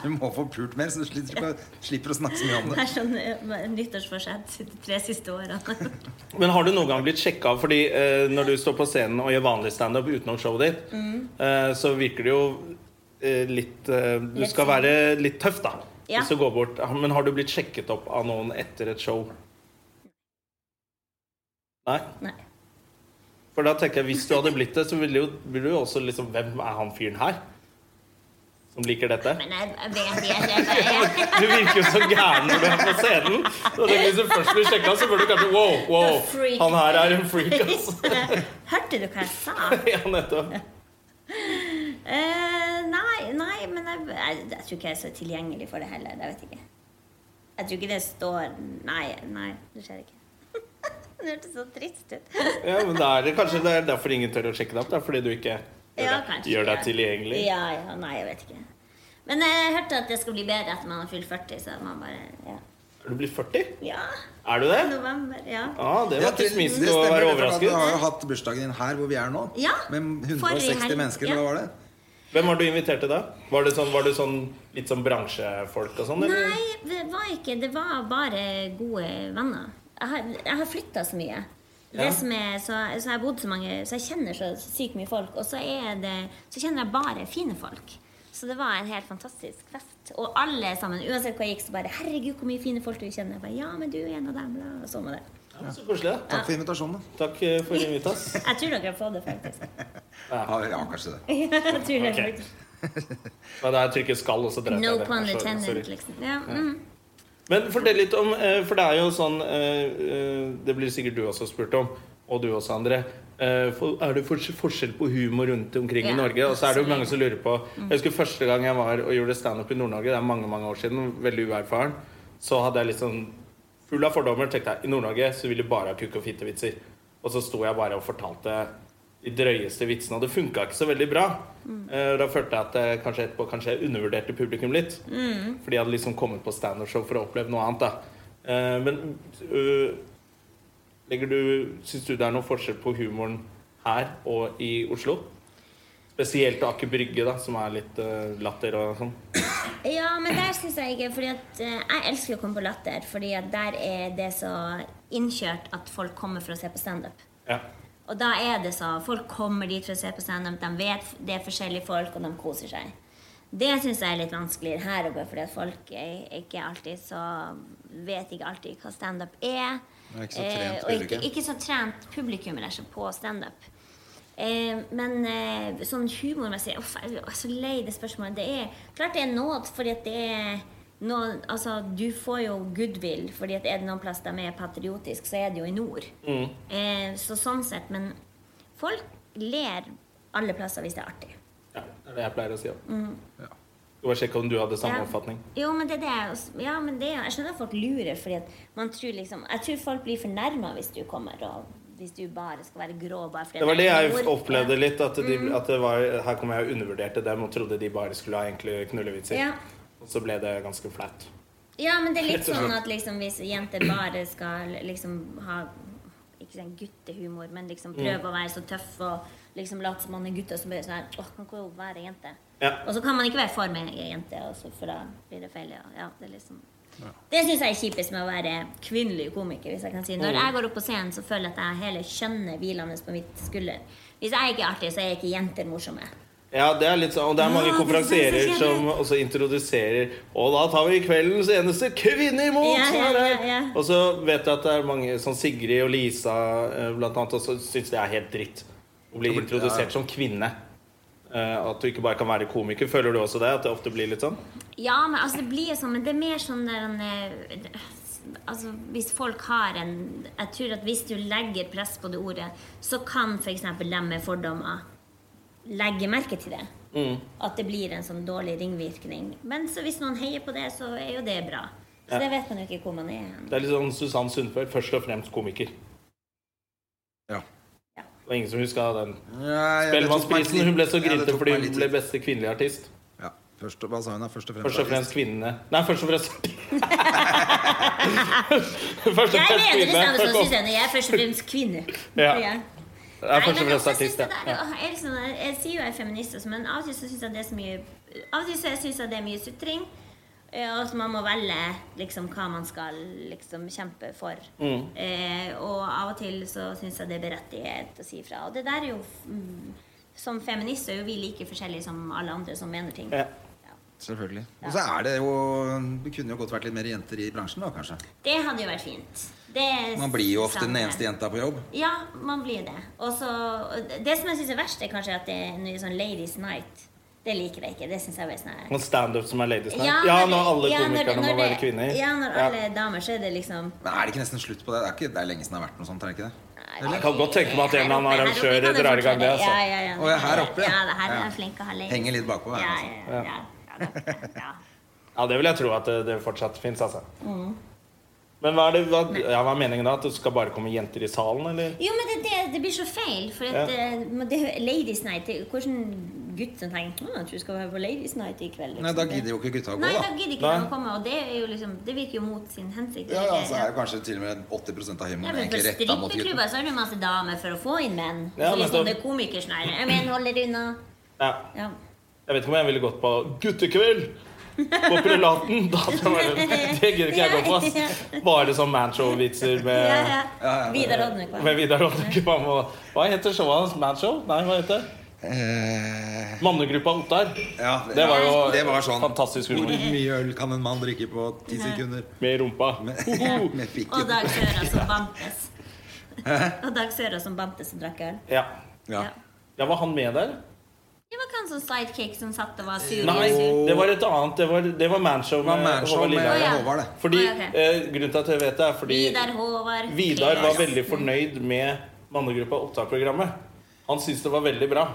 Speaker 2: Du må få pult mer, så du slipper, ikke å- slipper å snakke så mye om
Speaker 3: Det
Speaker 2: det.
Speaker 3: er sånn eh, nyttårsforsett de tre siste *laughs* årene.
Speaker 1: Men har du noen gang blitt sjekka fordi eh, når du står på scenen og gjør vanlig standup utenom showet ditt,
Speaker 3: Mm.
Speaker 1: eh, så virker det jo eh, litt eh, Du
Speaker 3: Litt
Speaker 1: skal
Speaker 3: sånn.
Speaker 1: være litt tøff, da.
Speaker 3: Ja.
Speaker 1: Hvis du går bort. Ah, Men har du blitt sjekket opp av noen etter et show? Nei?
Speaker 3: Nei.
Speaker 1: For da tenker jeg, hvis du hadde blitt det, så ville jo, ville jo også liksom Hvem er han fyren her? Som liker dette?
Speaker 3: Men jeg jeg vet ikke. Jeg, jeg, jeg,
Speaker 1: Du virker jo så gæren når du er på scenen. Så tenker jeg, Hvis du først blir sjekka, så burde du kanskje Wow, wow,
Speaker 3: A freak.
Speaker 1: han her er en freak,
Speaker 3: *laughs*
Speaker 1: altså.
Speaker 3: Hørte du hva jeg sa?
Speaker 1: *laughs* Ja, nettopp.
Speaker 3: Eh, nei, nei, men jeg, jeg, jeg tror ikke jeg er så tilgjengelig for det heller. Jeg vet ikke. Jeg tror ikke det står Nei, nei, det skjer ikke. *laughs* det hørtes så trist ut.
Speaker 1: Ja, men da er det kanskje det er derfor ingen tør å sjekke deg opp. Det er fordi du ikke gjør,
Speaker 3: Ja,
Speaker 1: deg,
Speaker 3: kanskje,
Speaker 1: gjør
Speaker 3: ja.
Speaker 1: deg tilgjengelig.
Speaker 3: Ja, ja, nei, jeg vet ikke. Men jeg hørte at det skal bli bedre etter man har fylt 40, så man bare Ja.
Speaker 1: Er du blitt 40?
Speaker 3: ja.
Speaker 1: Er du det?
Speaker 3: November, ja.
Speaker 1: Ja, det
Speaker 2: Ja,
Speaker 1: var ikke
Speaker 2: Trine, det
Speaker 1: minst å
Speaker 2: stemmer,
Speaker 1: være
Speaker 2: det, for at Du
Speaker 1: overrasket.
Speaker 2: har jo hatt bursdagen din her hvor vi er nå.
Speaker 3: Ja.
Speaker 2: Med
Speaker 3: Forrige
Speaker 2: 160
Speaker 3: helg,
Speaker 2: mennesker,
Speaker 3: ja.
Speaker 2: eller hva var det?
Speaker 1: Hvem var du invitert til da? Var det sånn, var det sånn litt sånn bransjefolk og sånn? eller?
Speaker 3: Nei, det var ikke Det var bare gode venner. Jeg har, jeg har flytta så mye. Det
Speaker 1: Ja.
Speaker 3: som er, så, så jeg har bodd så mange Så jeg kjenner så sykt mye folk. Og så, er det, så kjenner jeg bare fine folk. Så det var en helt fantastisk fest. Og alle sammen, uansett hvor jeg gikk, så bare 'Herregud, hvor mye fine folk du kjenner.' Jeg bare, 'Ja, men du er en av dem.' bla, Og sånn var det.
Speaker 1: Ja, så koselig, da.
Speaker 2: Takk for invitasjonen. da.
Speaker 1: Takk eh, for invitas.
Speaker 3: Jeg tror dere har fått det, faktisk. *laughs*
Speaker 2: Ja, ja, kanskje det.
Speaker 3: Jeg tror dere
Speaker 1: Ok.
Speaker 3: faktisk.
Speaker 1: Men der trykket 'skal', og så dreit
Speaker 3: No
Speaker 1: jeg i det.
Speaker 3: pun
Speaker 1: Sorry, sorry.
Speaker 3: intended, liksom. Ja, mm.
Speaker 1: Men fortell litt om eh, For det er jo sånn eh, eh, Det blir sikkert du også spurt om, og du også, André. Eh, for- Er det fors- forskjell på humor rundt omkring
Speaker 3: Ja,
Speaker 1: i Norge? Og så er det jo
Speaker 3: absolutt.
Speaker 1: mange som lurer på Jeg husker første gang jeg var og gjorde standup i Nord-Norge, det er mange mange år siden, veldig uerfaren, så hadde jeg litt sånn full av fordommer. tenkte jeg, I Nord-Norge så vil de bare ha kuk- og fittevitser. Og så sto jeg bare og fortalte de drøyeste vitsene, og det funka ikke så veldig bra.
Speaker 3: Mm.
Speaker 1: Eh, Da følte jeg at jeg kanskje etterpå kanskje jeg undervurderte publikum litt. Fordi jeg hadde liksom kommet på standup-show for å oppleve noe annet. da. Eh, Men øh, legger du, syns du det er noen forskjell på humoren her og i Oslo? Spesielt Aker Brygge, da, som er litt eh, latter og sånn.
Speaker 3: Ja, men der syns jeg ikke Fordi at eh, jeg elsker å komme på Latter, Fordi at der er det så innkjørt at folk kommer for å se på standup.
Speaker 1: Ja.
Speaker 3: Og da er det så Folk kommer dit for å se på standup, de vet det er forskjellige folk, og de koser seg. Det syns jeg er litt vanskeligere her oppe, fordi at folk er ikke alltid så vet ikke alltid hva standup er.
Speaker 2: Det er ikke så trent
Speaker 3: eh, og ikke,
Speaker 2: publikum.
Speaker 3: ikke så trent publikum er så på standup. Eh, men eh, sånn humormessig Uff, jeg er så lei det spørsmålet. Det er klart det er nåd, fordi at det er noe, altså, Du får jo goodwill, fordi at er det noen plass de er patriotiske, så er det jo i nord. Eh, så sånn sett, men folk ler alle plasser hvis det er artig.
Speaker 1: ja. Det er det jeg pleier å si òg.
Speaker 2: Ja.
Speaker 1: Skal bare sjekke om du hadde samme
Speaker 3: Mm. Ja.
Speaker 1: oppfatning.
Speaker 3: Jo, men det er det jeg også- Ja, men det er, jeg skjønner at folk lurer, fordi at man tror liksom Jeg tror folk blir fornærma hvis du kommer og hvis du bare skal være grå bare fordi
Speaker 1: Det var det jeg
Speaker 3: nord.
Speaker 1: opplevde litt. At, de,
Speaker 3: Mm.
Speaker 1: at det var, her kom jeg og undervurderte dem og trodde de bare skulle ha enkle knullevitser.
Speaker 3: Ja.
Speaker 1: Og så ble det ganske flaut.
Speaker 3: Ja, men det er litt
Speaker 1: Rett og slett.
Speaker 3: sånn at liksom, hvis jenter bare skal liksom ha ikke sånn guttehumor, men liksom
Speaker 1: Mm.
Speaker 3: prøve å være så tøff og liksom late som man er gutt, og så blir det sånn her Åh, kan ikke hun være jente?
Speaker 1: Ja.
Speaker 3: Og så kan man ikke være for meg jente, og så, for da blir det feil. Ja. ja det er liksom Det syns jeg er kjipest med å være kvinnelig komiker. hvis jeg kan si. Når jeg går opp på scenen, så føler jeg at jeg har hele kjønnet hvilende på mitt skulder. Hvis jeg ikke er artig, så er ikke jenter morsomme.
Speaker 1: Ja, det er litt sånn, og det er mange
Speaker 3: Ja, det synes jeg
Speaker 1: konferansierer
Speaker 3: er så
Speaker 1: som
Speaker 3: kjedelig.
Speaker 1: også introduserer Og da tar vi kveldens eneste kvinne imot!
Speaker 3: Ja, ja,
Speaker 1: her er-
Speaker 3: ja, ja.
Speaker 1: Og så vet jeg at det er mange sånn Sigrid og Lisa eh, blant annet også syns det er helt dritt å bli introdusert som kvinne. Eh, At du ikke bare kan være komiker. Føler du også det? At det ofte blir litt sånn?
Speaker 3: Ja, men altså, det blir jo sånn, men det er mer sånn der en, eh, Altså, hvis folk har en Jeg tror at hvis du legger press på det ordet, så kan f.eks. dem med fordommer legge merke til det.
Speaker 1: Mm.
Speaker 3: At det blir en sånn dårlig ringvirkning. Men så hvis noen heier på det, så er jo det bra. Så
Speaker 1: Ja.
Speaker 3: det vet man jo ikke hvor man er hen.
Speaker 1: Det er litt sånn Susann Sundfør, først og fremst komiker.
Speaker 2: Ja.
Speaker 1: Det var ingen som huska den.
Speaker 2: Ja, det tok meg
Speaker 1: Spellemannsprisen.
Speaker 2: litt-
Speaker 1: Hun ble så
Speaker 2: ja, det
Speaker 1: grinete
Speaker 2: tok
Speaker 1: fordi
Speaker 2: meg
Speaker 1: hun
Speaker 2: litt
Speaker 1: ble
Speaker 2: tid.
Speaker 1: beste kvinnelige artist.
Speaker 2: Ja, først, hva sa hun da? Først og fremst,
Speaker 1: Først og fremst kvinnene. Nei, først og
Speaker 3: *laughs*
Speaker 1: fremst Først og
Speaker 3: Jeg
Speaker 1: fremst
Speaker 3: mener det
Speaker 1: kvinne.
Speaker 3: samme
Speaker 1: Først
Speaker 3: som
Speaker 1: og-
Speaker 3: Susanne. Jeg er først og fremst kvinne.
Speaker 1: Ja.
Speaker 3: Ja.
Speaker 1: Jeg er
Speaker 3: Nei,
Speaker 1: først og
Speaker 3: men
Speaker 1: fremst
Speaker 3: altså, jeg
Speaker 1: artist,
Speaker 3: synes det
Speaker 1: ja.
Speaker 3: der- åh, jeg er liksom- jeg- Jeg sier jo jeg er feminist, også, men av og til så syns jeg det er så mye Av og til så synes jeg det er mye sutring. eh, Og at man må velge liksom, hva man skal liksom, kjempe for.
Speaker 1: Mm.
Speaker 3: Eh, og av og til så syns jeg det er berettiget å si fra. Og det der er jo f- mm, Som feminist er jo vi like forskjellige som alle andre som mener ting.
Speaker 1: Ja.
Speaker 2: Selvfølgelig. Og så er det jo Det kunne jo godt vært litt mer jenter i bransjen, da, kanskje.
Speaker 3: Det hadde jo vært fint. Det
Speaker 2: Man blir jo ofte den
Speaker 3: savner jeg.
Speaker 2: eneste jenta på jobb.
Speaker 3: Ja, man blir det. Og så, og det som jeg syns er verst, er kanskje at det er noe sånn Ladies Night. Det liker jeg ikke. Det synes jeg er veldig sånn her.
Speaker 1: Og standup som er ladies night. Ja,
Speaker 3: når-
Speaker 1: når alle
Speaker 3: ja, når-
Speaker 1: komikerne
Speaker 3: når
Speaker 1: må være
Speaker 3: det-
Speaker 1: kvinner.
Speaker 3: Ja, når
Speaker 1: Ja.
Speaker 3: alle damer, så er det liksom
Speaker 2: Men er det ikke nesten slutt på det? Det er, ikke, det er lenge siden det har vært noe sånt, er det ikke det?
Speaker 3: Nei,
Speaker 1: Jeg kan godt tenke meg at en eller annen
Speaker 3: her oppe- her oppe
Speaker 1: arrangør
Speaker 3: kan det
Speaker 1: drar i gang det,
Speaker 3: fortsette.
Speaker 1: altså.
Speaker 3: Ja, ja, ja.
Speaker 2: Å, ja, her oppe, ja.
Speaker 3: ja. det Her er
Speaker 2: Ja.
Speaker 3: jeg flink å ha ladies.
Speaker 2: Henger litt bakpå her,
Speaker 3: Ja,
Speaker 2: altså.
Speaker 3: ja, ja, ja, ja, ja.
Speaker 1: Ja, det vil jeg tro at det, det fortsatt fins, altså.
Speaker 3: Mm.
Speaker 1: Men hva er, det, hva, ja, hva er meningen da? At det skal bare komme jenter i salen, eller?
Speaker 3: Jo, men det, det, det blir så feil. For at,
Speaker 1: Ja.
Speaker 3: eh, men det, Ladies Night det, Hvordan gutt som tenker «Å, at du skal være på Ladies Night i kveld?
Speaker 2: Nei, da
Speaker 3: liksom?»
Speaker 2: gidder jo ikke gutta å gå,
Speaker 3: Nei, da
Speaker 2: da.
Speaker 3: gidder ikke
Speaker 1: Nei.
Speaker 3: de å komme, og det, er jo liksom, det virker jo mot sin hensikt.
Speaker 2: Ja, ja, så er
Speaker 3: Ja.
Speaker 2: jo kanskje til og med 80 av
Speaker 3: Ja,
Speaker 2: humoren
Speaker 3: men
Speaker 2: egentlig
Speaker 3: på
Speaker 2: retta mot gutten.
Speaker 3: strippeklubber så er det jo masse damer for å få inn menn.
Speaker 1: Ja,
Speaker 3: så
Speaker 1: nettopp.
Speaker 3: liksom det er komikersneier. Jeg mener, hold dere unna.
Speaker 1: Ja.
Speaker 3: Ja.
Speaker 1: Jeg vet ikke om jeg ville gått på guttekveld på prelaten. *laughs* Da, hadde jeg vært- det gidder ikke jeg gå på.
Speaker 3: *laughs*
Speaker 1: ass. Bare sånn manshow-vitser med
Speaker 3: Ja, ja.
Speaker 2: ja, ja.
Speaker 3: Vidar Odnek, hva?
Speaker 1: Med Vidar Oddekvam og Hva heter showet hans? Manshow? Nei, hva heter det?
Speaker 2: Eh,
Speaker 1: Mannegruppa Ottar.
Speaker 2: ja,
Speaker 1: Det var jo
Speaker 2: det var sånn.
Speaker 1: fantastisk
Speaker 2: Hvor
Speaker 1: humor.
Speaker 2: mye øl kan en mann drikke på ti sekunder?
Speaker 1: Med rumpa. Hoho.
Speaker 2: *laughs* Med
Speaker 3: *laughs* Og
Speaker 2: fikken.
Speaker 3: Dag Søra som bantes. Og Dag Søra som bantes og drakk øl.
Speaker 1: Ja.
Speaker 2: Ja.
Speaker 3: Ja.
Speaker 1: ja, var han med der?
Speaker 3: Det var ikke han som sidekick som satt og var sur.
Speaker 1: Nei,
Speaker 3: sur.
Speaker 1: det var et annet. Det var, det var Manshow
Speaker 2: Det var
Speaker 1: med
Speaker 2: manshow
Speaker 1: Håvard
Speaker 2: med
Speaker 3: Å, ja.
Speaker 1: Lilleheie.
Speaker 2: Håvard, det.
Speaker 1: Fordi,
Speaker 3: Å, ja, ok.
Speaker 1: eh, grunnen til at jeg vet det, er fordi
Speaker 3: Vidar Håvard.
Speaker 1: Vidar var
Speaker 3: Kleas.
Speaker 1: veldig fornøyd med Mannegruppa Opptak-programmet. Han syntes det var veldig bra.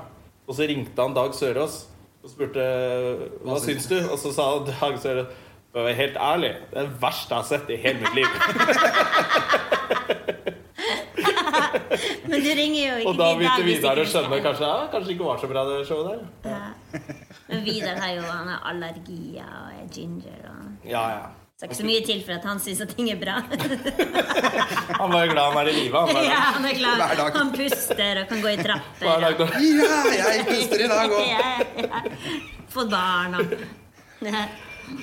Speaker 1: Og så ringte han Dag Sørås og spurte hva syns du? Og så sa Dag Sørås for å være helt ærlig, det er det verste jeg har sett i hele
Speaker 3: *laughs*
Speaker 1: mitt liv.
Speaker 3: *laughs* Men du ringer jo ikke
Speaker 1: Og da
Speaker 3: til Dag
Speaker 1: begynte
Speaker 3: hvis
Speaker 1: Vidar å
Speaker 3: ikke du
Speaker 1: skjønne
Speaker 3: skal-
Speaker 1: kanskje ja, kanskje det ikke var så bra det showet der.
Speaker 3: Ja. Men Vidar har jo han har allergier og er ginger og
Speaker 1: Ja, ja.
Speaker 3: Så det er ikke så mye til for at han syns at ting er bra.
Speaker 1: Han var jo glad han er i live. Han
Speaker 3: *laughs* ja,
Speaker 1: bare,
Speaker 3: han er klar.
Speaker 2: Hver dag.
Speaker 3: Han puster og kan gå i trapper.
Speaker 1: hva er det
Speaker 3: og-
Speaker 1: da?
Speaker 2: Ja, jeg puster i dag òg!
Speaker 3: ja, ja. Fått barn og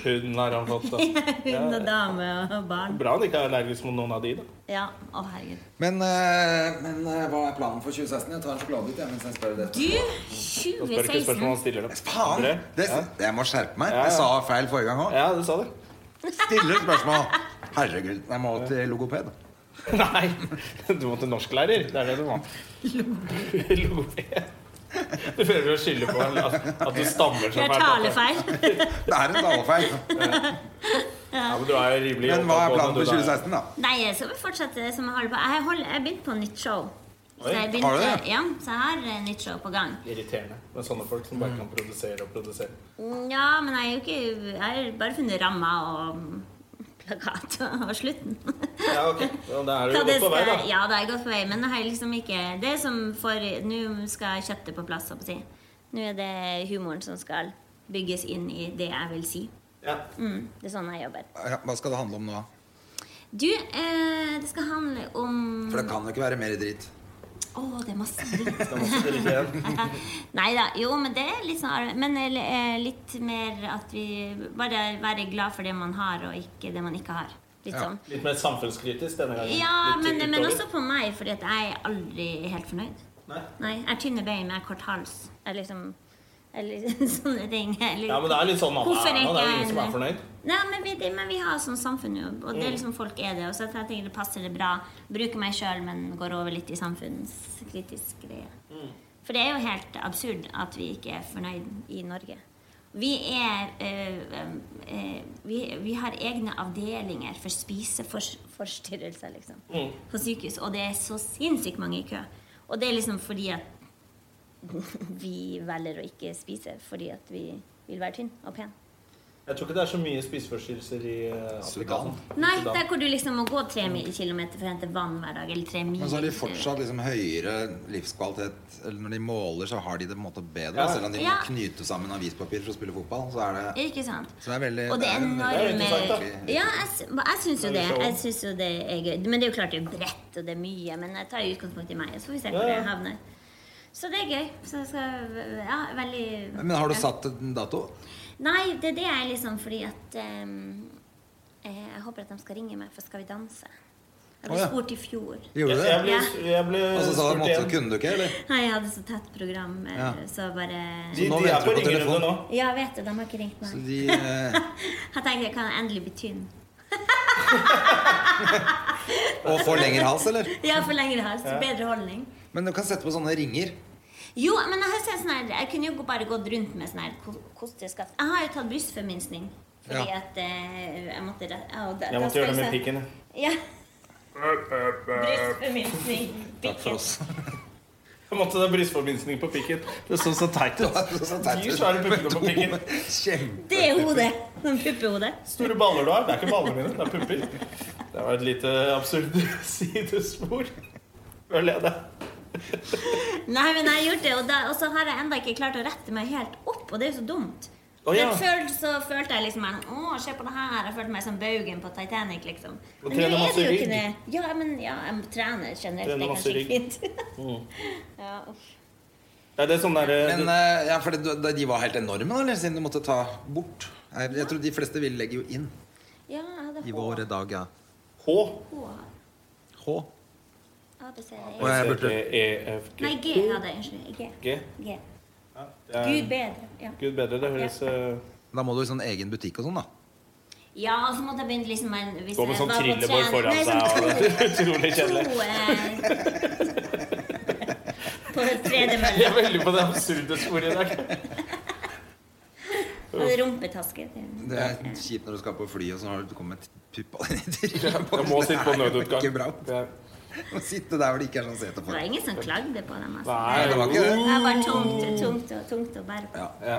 Speaker 1: Hunden har han fått. Da.
Speaker 3: *laughs* Hund og dame og barn.
Speaker 1: Bra han ikke er allergisk mot noen av de, da.
Speaker 3: Ja, å herregud.
Speaker 2: Men, eh, men eh, hva er planen for 2016? Jeg tar en sjokoladebit jeg, mens jeg spør det.
Speaker 3: Du,
Speaker 1: Da spør ikke spørsmål
Speaker 3: 2016
Speaker 1: han stiller dem.
Speaker 2: Faen!
Speaker 1: Andre?
Speaker 2: Det, jeg må skjerpe meg.
Speaker 1: Ja, ja.
Speaker 2: Jeg sa feil forrige gang òg.
Speaker 1: Ja, du sa det.
Speaker 2: Stiller spørsmål. Herregud, jeg må til logoped.
Speaker 1: Nei, du må til norsklærer. Det er det du må. Logoped. Du føler å skylde på at at du stammer altså.
Speaker 3: Det
Speaker 1: som
Speaker 3: er talefeil. *laughs*
Speaker 2: Det er en talefeil.
Speaker 1: *laughs* Ja, men du er jo rimelig
Speaker 2: Men hva er
Speaker 1: oppegående,
Speaker 2: planen for
Speaker 1: du, da.
Speaker 2: 2016, da?
Speaker 3: Nei, jeg skal vel fortsette som jeg har det på. Jeg holder- jeg har begynt på nytt show. Så
Speaker 1: Oi,
Speaker 3: jeg
Speaker 2: har du det?
Speaker 3: begynte, ja, så jeg har eh, nytt show på gang.
Speaker 1: Irriterende med sånne folk som
Speaker 2: Mm.
Speaker 1: bare kan produsere og produsere.
Speaker 3: Ja, men jeg er jo ikke Jeg har bare funnet ramma og plakat og slutten.
Speaker 1: Ja, ok. Ja, Da er du
Speaker 3: Ja,
Speaker 1: jo
Speaker 3: det
Speaker 1: godt på vei, da.
Speaker 3: skal, ja, da er jeg godt på vei, men jeg har liksom ikke Det er som for Nå skal kjøttet på plass, holdt jeg på å si. Nå er det humoren som skal bygges inn i det jeg vil si.
Speaker 1: Ja.
Speaker 3: Mm, det er sånn jeg jobber.
Speaker 2: Ja, Hva skal det handle om nå? da?
Speaker 3: Du, eh, det skal handle om
Speaker 2: For det kan jo ikke være mer dritt.
Speaker 3: Å, det er masse dritt.
Speaker 1: Det er masse dritt igjen.
Speaker 3: *laughs* Nei da. Jo, men det er litt sånn arve- Men eh, litt mer at vi Bare være glad for det man har, og ikke det man ikke har. Litt
Speaker 2: Ja.
Speaker 3: sånn.
Speaker 1: Litt mer samfunnskritisk denne gangen.
Speaker 3: Ja,
Speaker 1: Litt
Speaker 3: men, men
Speaker 1: utover.
Speaker 3: også på meg, for jeg er aldri helt fornøyd.
Speaker 1: Nei.
Speaker 3: Nei, Jeg er tynne bein, jeg har kort hals. Jeg er liksom Eller *laughs* sånne ting. sånn Jeg er litt-
Speaker 1: Ja, men det er litt sånn alle
Speaker 3: Hvorfor
Speaker 1: er nå. Det er jo
Speaker 3: ikke
Speaker 1: ingen som er
Speaker 3: en-
Speaker 1: fornøyd.
Speaker 3: Nei, men vi, det, men vi har sånn samfunn jo, og det er liksom folk er det. Og så jeg tenker det passer det bra. Bruker meg sjøl, men går over litt i samfunnskritisk greie. For det er jo helt absurd at vi ikke er fornøyd i Norge. Vi er eh, eh, vi, vi har egne avdelinger for spiseforstyrrelser, liksom. På sykehus. Og det er så sinnssykt mange i kø. Og det er liksom fordi at *laughs* vi velger å ikke spise fordi at vi vil være tynn og pen.
Speaker 1: Jeg tror ikke det er så mye spiseforstyrrelser i eh, Afrika.
Speaker 2: Sudan.
Speaker 3: Nei,
Speaker 1: Sudan.
Speaker 3: der hvor du liksom må gå tre mi- kilometer for å hente vann hver dag. Eller tre mil.
Speaker 2: Men så har de fortsatt liksom høyere livskvalitet Eller når de måler, så har de det på en måte bedre.
Speaker 1: Ja.
Speaker 2: Selv om de må
Speaker 3: Ja.
Speaker 2: knyte sammen avispapir for å spille fotball, så er det
Speaker 3: Ikke sant?
Speaker 2: så det er veldig,
Speaker 3: Og det er
Speaker 2: en-
Speaker 1: Det er
Speaker 3: enorme
Speaker 1: interessant,
Speaker 2: da.
Speaker 3: Ja, jeg, sy- jeg syns jo
Speaker 1: Det er
Speaker 3: det.
Speaker 1: litt show.
Speaker 3: Jeg synes jo det er gøy. Men det er jo klart det er bredt, og det er mye. Men jeg tar jo utgangspunkt i meg, og så får vi se hvor
Speaker 1: Ja, ja.
Speaker 3: jeg havner. Så det er gøy. Så jeg skal Ja, veldig
Speaker 2: Men har du
Speaker 3: Ja.
Speaker 2: satt en dato?
Speaker 3: Nei, det, det er liksom fordi at ehm, eh, Jeg håper at de skal ringe meg, for skal vi danse? Jeg ble
Speaker 2: Å, ja.
Speaker 3: spurt i fjor.
Speaker 2: Gjorde
Speaker 1: Jeg,
Speaker 2: du
Speaker 1: jeg
Speaker 2: det?
Speaker 1: ble, jeg ble
Speaker 2: Og så sa du
Speaker 1: spurt
Speaker 2: at måtte,
Speaker 1: igjen.
Speaker 2: kunne du ikke, eller?
Speaker 3: Nei, jeg hadde så tett program, eh,
Speaker 2: Ja.
Speaker 3: så bare
Speaker 1: De,
Speaker 2: nå
Speaker 1: de
Speaker 2: venter
Speaker 1: er på
Speaker 2: du på
Speaker 1: ringerunde
Speaker 2: telefon.
Speaker 1: nå.
Speaker 3: Ja, jeg vet det. De har ikke ringt
Speaker 2: Så
Speaker 3: meg.
Speaker 2: de eh,
Speaker 3: Jeg tenker jeg kan endelig bli tynn.
Speaker 2: Og får lengre hals, eller?
Speaker 3: Ja, for lengre hals. Bedre holdning.
Speaker 2: Men du kan sette på sånne ringer.
Speaker 3: Jo, men jeg har sett sånn her Jeg kunne jo gå- bare gått rundt med sånn her ko- kosteskaft. Jeg har jo tatt brystforminskning. Fordi
Speaker 2: Ja.
Speaker 3: at eh, jeg måtte re- ja, og da- da
Speaker 1: Jeg måtte
Speaker 3: skal
Speaker 1: gjøre det
Speaker 3: jeg
Speaker 1: med
Speaker 3: se-
Speaker 1: pikken.
Speaker 3: Ja. *laughs* Brystforminskning. Pikken.
Speaker 2: *laughs*
Speaker 1: Jeg måtte ha brystforbindelse på pikken. Det så så teit ut.
Speaker 2: Så teit
Speaker 1: De
Speaker 2: ut.
Speaker 1: svære
Speaker 2: *laughs*
Speaker 1: puppene på pikken.
Speaker 2: Kjempe.
Speaker 3: Det er hodet. Sånn puppehode.
Speaker 1: Store baller du har. Det er ikke ballene mine, det er pupper. Det var et lite absurd *laughs* sidespor. Føler jeg det.
Speaker 3: Nei, men jeg har gjort det, og, da, og så har jeg enda ikke klart å rette meg helt opp, og det er jo så dumt.
Speaker 1: Å, ja.
Speaker 3: Men før så følte jeg liksom Å, se på det her. Jeg følte meg som baugen på Titanic, liksom.
Speaker 1: Og
Speaker 3: Men nå
Speaker 1: trener
Speaker 3: er
Speaker 1: masse
Speaker 3: det jo
Speaker 1: rygg.
Speaker 3: ikke det. Ja, men ja, jeg trener generelt.
Speaker 1: Trener masse
Speaker 3: det er kanskje
Speaker 1: rygg.
Speaker 3: ikke fint. *laughs* ja, uff.
Speaker 1: Mm. Ja, det er sånn der,
Speaker 2: Men eh, ja, for det, da- de var helt enorme, da, eller? Siden du måtte ta bort. Jeg, jeg tror de fleste vil legge jo inn
Speaker 3: ja, jeg hadde
Speaker 2: i
Speaker 3: H.
Speaker 2: våre dager.
Speaker 1: H.
Speaker 3: H.
Speaker 2: H.
Speaker 3: A, B, C,
Speaker 2: Og
Speaker 3: E.
Speaker 2: jeg burde-
Speaker 1: E, F, G. Eh.
Speaker 3: Nei, G hadde jeg. Unnskyld. G.
Speaker 1: G.
Speaker 3: G.
Speaker 1: Ja, det er-
Speaker 3: Gud bedre. Ja.
Speaker 1: Gud bedre, det høres eh,
Speaker 2: Da må du i sånn egen butikk og sånn, da.
Speaker 3: ja, og så måtte jeg begynne liksom med en- hvis
Speaker 1: Gå med
Speaker 3: jeg
Speaker 1: sånn
Speaker 3: var på
Speaker 1: trillebår
Speaker 3: trening-
Speaker 1: foran
Speaker 3: Nei,
Speaker 1: seg.
Speaker 3: sånn
Speaker 1: Og det er *laughs* utrolig kjedelig.
Speaker 3: To,
Speaker 1: *laughs*
Speaker 3: eh, på tredemølle.
Speaker 1: Jeg er veldig på det absurde sporet i dag.
Speaker 3: Og rumpetaske. til-
Speaker 2: Det er kjipt når du skal på fly, og så har du kommet puppa di i trynet.
Speaker 1: Jeg må sitte på nødutgang.
Speaker 2: Det er ikke bra
Speaker 1: Det er-
Speaker 2: å sitte der hvor det ikke er sånn sete
Speaker 3: Det var
Speaker 2: for.
Speaker 3: ingen som klagde på dem. Altså.
Speaker 1: Nei,
Speaker 2: det var ikke det.
Speaker 3: Det var bare tungt, tungt, og tungt å bære på.
Speaker 2: Ja,
Speaker 1: Ja.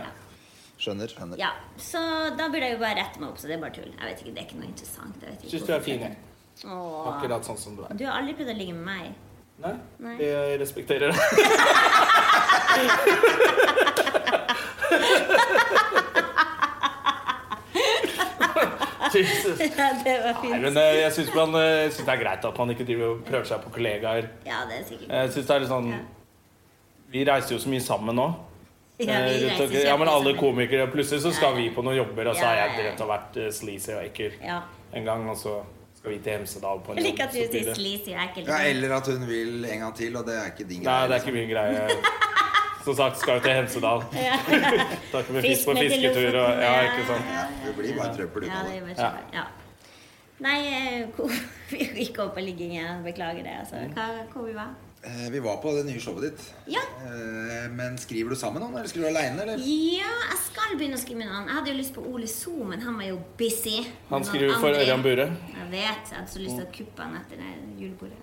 Speaker 2: skjønner. skjønner.
Speaker 3: Ja, så da burde jeg jo bare rette meg opp, så det er bare tull. Jeg vet ikke, Det er ikke noe interessant. Jeg vet ikke
Speaker 1: Syns du er fin, jeg.
Speaker 3: Åh.
Speaker 1: Akkurat sånn som du er.
Speaker 3: Du har aldri prøvd å ligge med meg. *laughs*
Speaker 1: Nei,
Speaker 3: Nei.
Speaker 1: jeg respekterer det. *laughs* Jesus.
Speaker 3: Ja, det var
Speaker 1: Nei,
Speaker 3: fint.
Speaker 1: men eh, jeg syns det er greit at man ikke driver og prøver seg på kollegaer.
Speaker 3: Ja, det er sikkert.
Speaker 1: Jeg synes det er litt sånn
Speaker 3: Ja.
Speaker 1: Vi reiser jo så mye sammen nå.
Speaker 3: Ja,
Speaker 1: Eh,
Speaker 3: vi
Speaker 1: rundt
Speaker 3: reiser
Speaker 1: omkring. ja, men alle
Speaker 3: kjempesammen.
Speaker 1: komikere Plutselig så skal
Speaker 3: Ja.
Speaker 1: vi på noen jobber, og så
Speaker 3: Ja,
Speaker 1: har
Speaker 3: ja,
Speaker 1: jeg
Speaker 3: ja.
Speaker 1: drevet og vært eh, sleazy og ekkel
Speaker 3: Ja.
Speaker 1: en gang, og så skal vi til Hemsedal på en
Speaker 3: Jeg liker
Speaker 1: jobb.
Speaker 3: at
Speaker 1: så
Speaker 3: du
Speaker 1: blir
Speaker 3: sier
Speaker 1: det-
Speaker 3: liksom. sleazy og ekkel.
Speaker 2: Ja, eller at hun vil en gang til, og det er ikke din
Speaker 1: Nei, det er
Speaker 2: liksom.
Speaker 1: ikke min greie. Som sagt, skal jo til
Speaker 3: *laughs*
Speaker 1: Hemsedal. Takk for fisk på
Speaker 3: med til
Speaker 1: fisketur
Speaker 3: Lofoten,
Speaker 1: og Ja,
Speaker 3: ja,
Speaker 1: ikke sant.
Speaker 2: Ja, det blir bare trøbbel.
Speaker 3: Ja,
Speaker 2: ut
Speaker 3: det er
Speaker 2: av det.
Speaker 3: bare sånn. Ja. Nei, eh, *laughs* hvor- vi gikk over på ligging igjen. Beklager det. altså.
Speaker 2: Mm.
Speaker 3: Hva, hvor vi var?
Speaker 2: Eh, Vi var på det nye showet ditt.
Speaker 3: Ja.
Speaker 2: Eh, Men skriver du sammen nå, eller skriver du aleine, eller?
Speaker 3: Ja, jeg skal begynne å skrive med noen. Jeg hadde jo lyst på Ole So, men han var jo busy.
Speaker 1: Han
Speaker 3: Noen
Speaker 1: skriver for
Speaker 3: andre-
Speaker 1: Ørjan Bure.
Speaker 3: Jeg vet. Jeg hadde så lyst til å kuppe han etter det julebordet.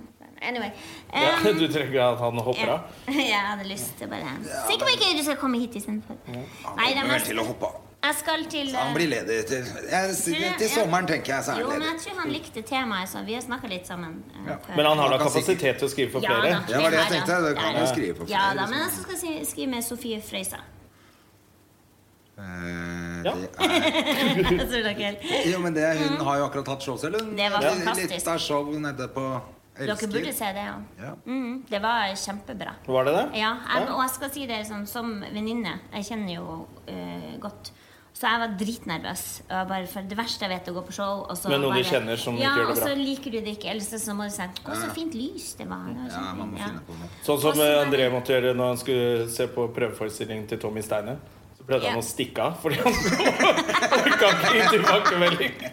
Speaker 3: Anyway.
Speaker 1: Ja, *laughs*
Speaker 3: ehm,
Speaker 1: du trenger ikke at han hopper
Speaker 3: *laughs* ja.
Speaker 1: av?
Speaker 3: Jeg hadde lyst til å bare Sikker på ikke du skal komme hit istedenfor. Nei, det
Speaker 2: Han
Speaker 3: er
Speaker 2: kommer vel
Speaker 3: mest
Speaker 2: til å hoppe av.
Speaker 3: Jeg skal til
Speaker 2: Han
Speaker 3: eh,
Speaker 2: blir ledig til, jeg,
Speaker 3: Ja,
Speaker 2: til
Speaker 3: ja.
Speaker 2: sommeren, tenker jeg. Så er
Speaker 3: Jo,
Speaker 2: han
Speaker 3: men
Speaker 2: ledig.
Speaker 3: jeg tror han likte temaet, så vi har snakka litt sammen. eh, før.
Speaker 1: Men han har da
Speaker 2: Han kan
Speaker 1: kapasitet til å skrive for
Speaker 3: Ja da,
Speaker 1: flere?
Speaker 2: Det var det jeg
Speaker 3: har
Speaker 2: tenkte.
Speaker 3: han.
Speaker 2: Det kan
Speaker 3: Ja,
Speaker 2: du
Speaker 3: da.
Speaker 2: skrive på
Speaker 3: Ja
Speaker 2: flere,
Speaker 3: da,
Speaker 2: liksom.
Speaker 3: men jeg skal si- skrive med Sofie Frøysa.
Speaker 1: *laughs*
Speaker 3: *laughs*
Speaker 2: Eh,
Speaker 1: Ja.
Speaker 2: det er,
Speaker 3: Tror dere?
Speaker 2: jo, men det, hun har jo akkurat hatt show selv, hun.
Speaker 3: Det var fantastisk.
Speaker 2: Litt av show nede på Elsker.
Speaker 3: Dere burde se det, ja.
Speaker 2: Ja.
Speaker 3: Mm, det var kjempebra.
Speaker 1: Var det det?
Speaker 3: Ja, jeg, og jeg skal si det sånn, som venninne. Jeg kjenner jo eh, godt. Så jeg var dritnervøs. Og jeg bare, for det verste jeg vet, er å gå på show. Og så
Speaker 1: Med noen
Speaker 3: bare,
Speaker 1: du kjenner som ikke
Speaker 3: ja,
Speaker 1: gjør det bra.
Speaker 3: Ja, og så liker du det ikke. Ellers så må du si 'Å, så
Speaker 2: Ja.
Speaker 3: fint lys det var'. Det var
Speaker 2: Ja, man må
Speaker 3: kjempefint»,
Speaker 2: finne på noe.
Speaker 1: Sånn som
Speaker 3: Og så er det-
Speaker 1: André måtte gjøre når han skulle se på prøveforestillingen til Tommy Steiner. Så prøvde
Speaker 3: Ja.
Speaker 1: han å stikke av fordi han *laughs* orka ikke gi tilbakemelding.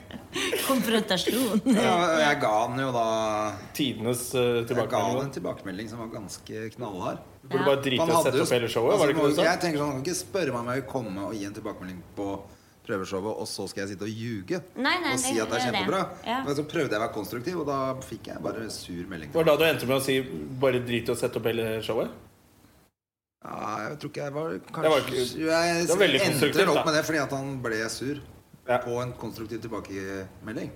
Speaker 3: Konfrontasjon.
Speaker 2: Ja, jeg ga han jo da
Speaker 1: Tidenes uh,
Speaker 2: Jeg ga han
Speaker 1: tilbakemelding.
Speaker 2: en tilbakemelding som var ganske knallhard.
Speaker 1: Du burde bare drite i å sette opp hele showet. Var det ikke det du sa?
Speaker 2: Altså, Jeg tenker sånn, Han kan ikke spørre meg om jeg vil komme og gi en tilbakemelding på prøveshowet, og så skal jeg sitte og ljuge
Speaker 3: Nei, nei,
Speaker 2: og si
Speaker 3: det-
Speaker 2: at det er
Speaker 3: det er det.
Speaker 2: kjempebra.
Speaker 3: Ja.
Speaker 2: Men så prøvde jeg å være konstruktiv, og da fikk jeg bare sur melding.
Speaker 1: Det var da du endte med å si 'bare drit i å sette opp hele showet'?
Speaker 2: Ja, jeg tror ikke jeg var
Speaker 1: Det
Speaker 2: kanskje,
Speaker 1: var ikke-
Speaker 2: Jo, Jeg
Speaker 1: det var veldig
Speaker 2: endte
Speaker 1: konstruktivt,
Speaker 2: vel
Speaker 1: da.
Speaker 2: opp med det fordi at han ble sur
Speaker 1: Ja.
Speaker 2: på en konstruktiv tilbakemelding.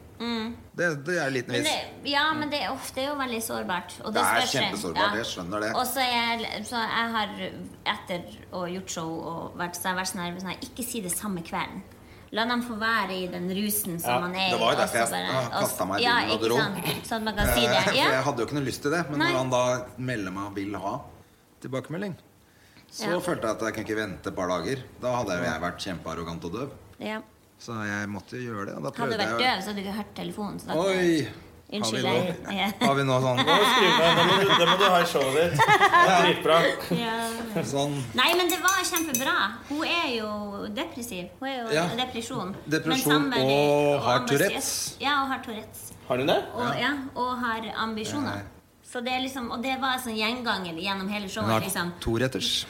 Speaker 2: Det, det er en liten
Speaker 3: Mm. Men
Speaker 2: vits.
Speaker 3: det, ja, men det, uff, det er jo veldig sårbart. Og
Speaker 2: Det er
Speaker 3: spørs en-
Speaker 2: kjempesårbart, jeg skjønner det.
Speaker 3: Og så jeg, så jeg har etter å ha gjort show og vært, så har jeg vært så nervøs sånn, Ikke si det samme kvelden. La dem få være i den rusen som
Speaker 1: Ja,
Speaker 3: man er i.
Speaker 2: det var jo
Speaker 3: og
Speaker 2: derfor jeg
Speaker 3: så bare-
Speaker 2: ah, kastet meg i
Speaker 3: ja,
Speaker 2: bilen og
Speaker 3: ikke
Speaker 2: dro.
Speaker 3: sant? Sånn at man kan
Speaker 2: Eh,
Speaker 3: si
Speaker 2: *laughs*
Speaker 3: det.
Speaker 2: For jeg
Speaker 3: Ja.
Speaker 2: hadde jo ikke noe lyst til det. Men
Speaker 3: Nei.
Speaker 2: når han da melder meg og vil ha tilbakemelding, så
Speaker 3: Ja.
Speaker 2: følte jeg at jeg kunne ikke vente et par dager. Da hadde jo jeg vært kjempearrogant og døv.
Speaker 3: ja.
Speaker 2: Så jeg måtte jo gjøre det. Og da
Speaker 3: Hadde du
Speaker 2: prøvde
Speaker 3: vært
Speaker 2: jeg
Speaker 3: døv, så hadde du ikke hørt telefonen. Så da,
Speaker 2: jo Oi! Har vi
Speaker 3: Unnskyld,
Speaker 2: nå,
Speaker 3: jeg-
Speaker 2: *laughs* har vi nå sånn,
Speaker 3: *laughs*
Speaker 1: Nå må du skrive ned. Det må du- Det må du ha i showet ditt. Det er dritbra.
Speaker 3: ja.
Speaker 2: sånn
Speaker 3: Nei, men det var kjempebra. Hun er jo depressiv. Hun er jo
Speaker 2: Ja.
Speaker 3: depresjon.
Speaker 2: Depresjon
Speaker 3: Men samtidig-
Speaker 2: og har
Speaker 3: ambisiøs.
Speaker 2: Tourettes.
Speaker 3: Ja, og har Tourettes.
Speaker 1: Har du det?
Speaker 3: og, ja. og har ambisjoner.
Speaker 2: Ja.
Speaker 3: Så det er liksom, og det var en sånn gjenganger gjennom hele
Speaker 2: Hun
Speaker 3: showet.
Speaker 2: har
Speaker 3: liksom.
Speaker 2: toretters.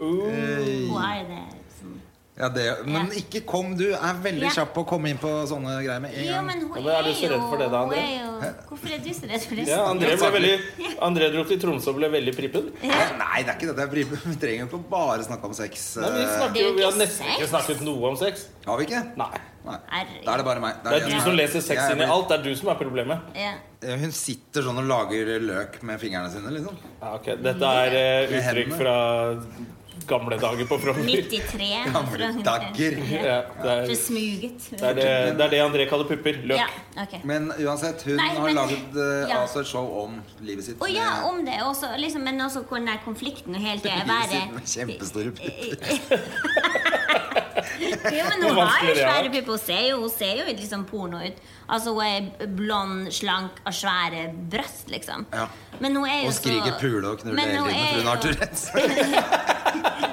Speaker 1: Uh,
Speaker 3: Hun er det liksom.
Speaker 2: Ja, det, men
Speaker 3: Ja.
Speaker 2: ikke kom du. Er veldig
Speaker 3: Ja.
Speaker 2: kjapp på å komme inn på sånne greier med
Speaker 3: Jo,
Speaker 2: en gang.
Speaker 3: men
Speaker 1: Ja,
Speaker 3: hun
Speaker 1: men er du
Speaker 3: er
Speaker 1: så
Speaker 3: jo,
Speaker 1: redd for det da,
Speaker 3: hun
Speaker 1: André?
Speaker 3: er jo Hvorfor er du så redd for det?
Speaker 1: Ja, André, ble veldig, André dro til Tromsø og ble veldig prippen.
Speaker 2: Eh, Nei, det er ikke det. det er bry- Vi trenger jo ikke å bare snakke om sex.
Speaker 1: Nei, men vi,
Speaker 2: eh,
Speaker 1: snakker,
Speaker 3: Det er
Speaker 1: jo-
Speaker 3: jo
Speaker 1: vi har
Speaker 3: ikke
Speaker 1: nesten ikke
Speaker 3: sex.
Speaker 1: snakket noe om sex.
Speaker 2: Har vi ikke?
Speaker 1: Nei.
Speaker 2: Nei.
Speaker 3: Herregud.
Speaker 2: Da er det bare meg. Da
Speaker 1: Det er
Speaker 2: jeg
Speaker 1: du
Speaker 2: som
Speaker 1: som leser sex
Speaker 2: jeg
Speaker 1: inn i
Speaker 2: blir-
Speaker 1: alt. Det er du som er problemet.
Speaker 3: Ja.
Speaker 2: Ja, Hun sitter sånn og lager løk med fingrene sine, liksom.
Speaker 1: Ja, ok. Dette er eh,
Speaker 2: Med
Speaker 1: uttrykk
Speaker 2: hendene.
Speaker 1: fra gamle dager på Frogner. *laughs*
Speaker 3: 93.
Speaker 2: Gamle
Speaker 3: fra hun-
Speaker 2: dager.
Speaker 3: Ja.
Speaker 1: Ja, det,
Speaker 3: For
Speaker 1: er,
Speaker 3: smuget.
Speaker 1: det, er det, det er det André kaller pupper. Løk.
Speaker 3: Ja, ok.
Speaker 2: Men uansett, hun
Speaker 3: Nei,
Speaker 2: har
Speaker 3: men-
Speaker 2: laget eh,
Speaker 3: ja.
Speaker 2: altså et show om livet sitt.
Speaker 3: Å ja,
Speaker 2: med-
Speaker 3: om det også, liksom, men også hvor den der konflikten og hele tida
Speaker 1: *laughs*
Speaker 3: være
Speaker 2: Livet sitt med
Speaker 3: *laughs*
Speaker 2: kjempestore pupper.
Speaker 3: Jo, men
Speaker 1: Hvor
Speaker 3: hun har
Speaker 1: vanskelig
Speaker 3: jo
Speaker 1: det er.
Speaker 3: svære pupper. Hun ser jo, hun ser jo liksom porno ut. Altså, hun er blond, slank og svære bryst, liksom.
Speaker 2: Ja.
Speaker 3: Men hun er jo
Speaker 2: Og skriker
Speaker 3: så-
Speaker 2: pule og knulle
Speaker 3: Men
Speaker 2: hele
Speaker 3: hun
Speaker 2: tiden.
Speaker 3: er
Speaker 2: For hun har
Speaker 3: jo-
Speaker 2: Tourettes. *laughs*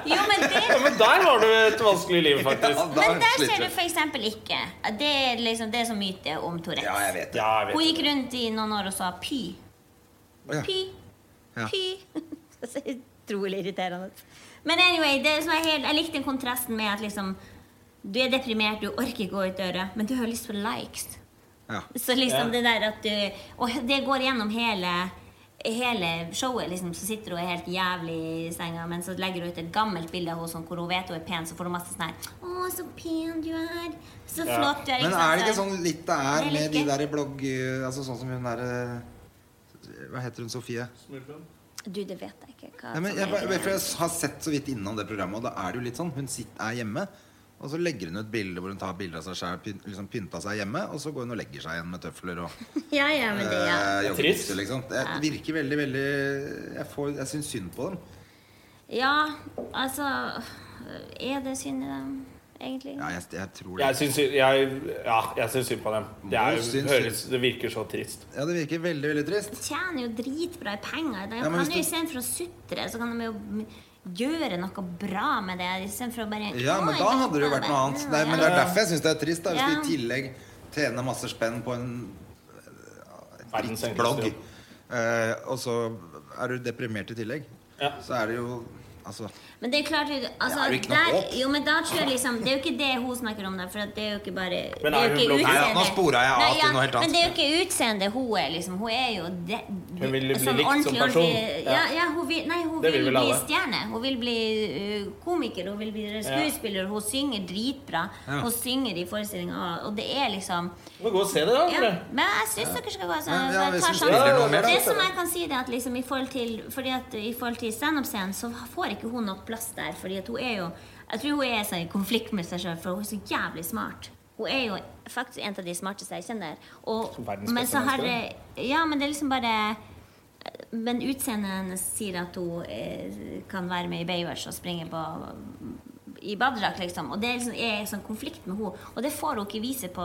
Speaker 3: Jo, men
Speaker 1: Ja,
Speaker 3: det
Speaker 1: men der har du et vanskelig liv, faktisk.
Speaker 2: Ja, da
Speaker 3: men der
Speaker 2: sliter
Speaker 3: ser du
Speaker 2: hun.
Speaker 3: for eksempel ikke. Det er liksom det som myte om Tourettes.
Speaker 2: Ja, jeg vet det.
Speaker 1: Ja, jeg
Speaker 3: Hun
Speaker 1: vet
Speaker 3: gikk
Speaker 1: det.
Speaker 3: rundt i noen år og sa py.
Speaker 2: Ja.
Speaker 3: Py.
Speaker 2: Ja.
Speaker 3: Py. *laughs* Så utrolig irriterende. Men anyway, det som er helt, jeg likte den kontrasten med at liksom Du er deprimert, du orker ikke gå ut døra, men du har lyst på likes.
Speaker 2: Ja.
Speaker 3: Så
Speaker 1: Ja.
Speaker 3: liksom det der at du Og det går gjennom hele Hele showet liksom, så sitter hun helt jævlig i senga, men så legger hun ut et gammelt bilde av henne sånn, hvor hun vet hun er pen, så får hun masse sånn her Å, så pen du er. Så
Speaker 1: Ja.
Speaker 3: flott du er. liksom altså-
Speaker 2: Men
Speaker 3: sant?
Speaker 2: er det ikke sånn litt det er
Speaker 3: Nei,
Speaker 2: med de
Speaker 3: like.
Speaker 2: der blogg... Altså sånn som hun der eh, Hva heter hun? Sofie?
Speaker 3: Du, det vet jeg ikke. Hva
Speaker 2: sånn- Nei, men
Speaker 3: som
Speaker 2: jeg,
Speaker 3: sånn er
Speaker 2: bare-
Speaker 3: greia.
Speaker 2: for jeg har sett så vidt innom det programmet, og da er det jo litt sånn. Hun sitter, er hjemme, og så legger hun ut bilder hvor hun tar bilder av seg sjøl, liksom pynta seg hjemme, og så går hun og legger seg igjen med tøfler og
Speaker 3: Ja, ja, men det, ja.
Speaker 2: eh,
Speaker 1: Det er trist.
Speaker 2: joggebukse, liksom. Det virker veldig, veldig Jeg, får- jeg syns synd på dem.
Speaker 3: Ja, altså Er det synd i dem, egentlig?
Speaker 2: Ja, jeg, jeg tror
Speaker 1: Jeg
Speaker 2: det.
Speaker 1: syns jeg, ja, jeg syns synd på dem. Det, er,
Speaker 2: Du syns
Speaker 1: jo- høres, det virker så trist.
Speaker 2: Ja, det virker veldig, veldig
Speaker 3: De
Speaker 2: trist.
Speaker 3: tjener jo dritbra i penger. De
Speaker 2: Ja, men
Speaker 3: kan
Speaker 2: hvis
Speaker 3: jo
Speaker 2: du-
Speaker 3: Istedenfor å sutre, så kan de jo gjøre noe bra med det. Istedenfor å bare
Speaker 2: Ja, men
Speaker 3: «Oi,
Speaker 2: da
Speaker 3: men
Speaker 2: hadde det jo
Speaker 3: faen,
Speaker 2: vært noe annet. Nei, men
Speaker 3: ja.
Speaker 2: det er derfor jeg syns det er trist, da. Hvis
Speaker 3: Ja.
Speaker 2: du i tillegg tjener masse spenn på en
Speaker 1: Verdens enkleste
Speaker 2: blogg,
Speaker 1: jobb.
Speaker 2: eh, og så er du deprimert i tillegg,
Speaker 1: Ja.
Speaker 2: så er det jo Altså
Speaker 3: Men det er klart altså,
Speaker 2: Det er jo ikke noe
Speaker 3: der,
Speaker 2: håp.
Speaker 3: jo, men da tror jeg liksom Det er jo ikke det hun snakker om, der, for at det er jo ikke bare
Speaker 1: Men
Speaker 3: det
Speaker 1: er
Speaker 3: jo
Speaker 1: hun
Speaker 3: ikke
Speaker 1: blogger?
Speaker 2: Nei, ja, nå
Speaker 3: utseende.
Speaker 2: sporet jeg av
Speaker 3: Nei,
Speaker 2: til noe helt annet.
Speaker 3: Men det er jo ikke utseende hun er, liksom. Hun er jo de,
Speaker 1: Hun vil bli
Speaker 3: sånn
Speaker 1: likt som
Speaker 3: ordentlig,
Speaker 1: person.
Speaker 3: ordentlig-
Speaker 1: Ja.
Speaker 3: Ja, ja, hun vil, nei, hun
Speaker 1: Det
Speaker 3: vil,
Speaker 1: vil vel
Speaker 3: bli
Speaker 1: alle.
Speaker 3: stjerne. Hun vil bli uh, komiker, hun vil bli skuespiller, hun synger dritbra.
Speaker 2: Ja.
Speaker 3: Hun synger i forestillinga, og det er liksom
Speaker 1: Du må gå og se det, da.
Speaker 3: ja,
Speaker 1: André.
Speaker 3: men jeg syns dere skal gå altså,
Speaker 2: Men, ja,
Speaker 3: jeg
Speaker 2: hvis
Speaker 3: tar
Speaker 2: vi
Speaker 3: sjansen.
Speaker 1: spiller noe mer, da,
Speaker 3: Det
Speaker 1: så-
Speaker 3: som jeg kan si, det er at liksom i forhold til Fordi at i forhold til standup-scenen, så får ikke hun nok plass der. Fordi at hun er jo Jeg tror hun er sånn i konflikt med seg sjøl, for hun er så jævlig smart. Hun er jo faktisk en av de smarteste jeg kjenner. Og,
Speaker 4: Verdens beste
Speaker 3: men så har
Speaker 4: menneske,
Speaker 3: jeg- Ja, men det er liksom bare Men utseendet hennes sier at hun eh, kan være med i Baywatch og springe på i badedrakt, liksom. Og det er liksom, er en sånn konflikt med henne. Og det får hun ikke vise på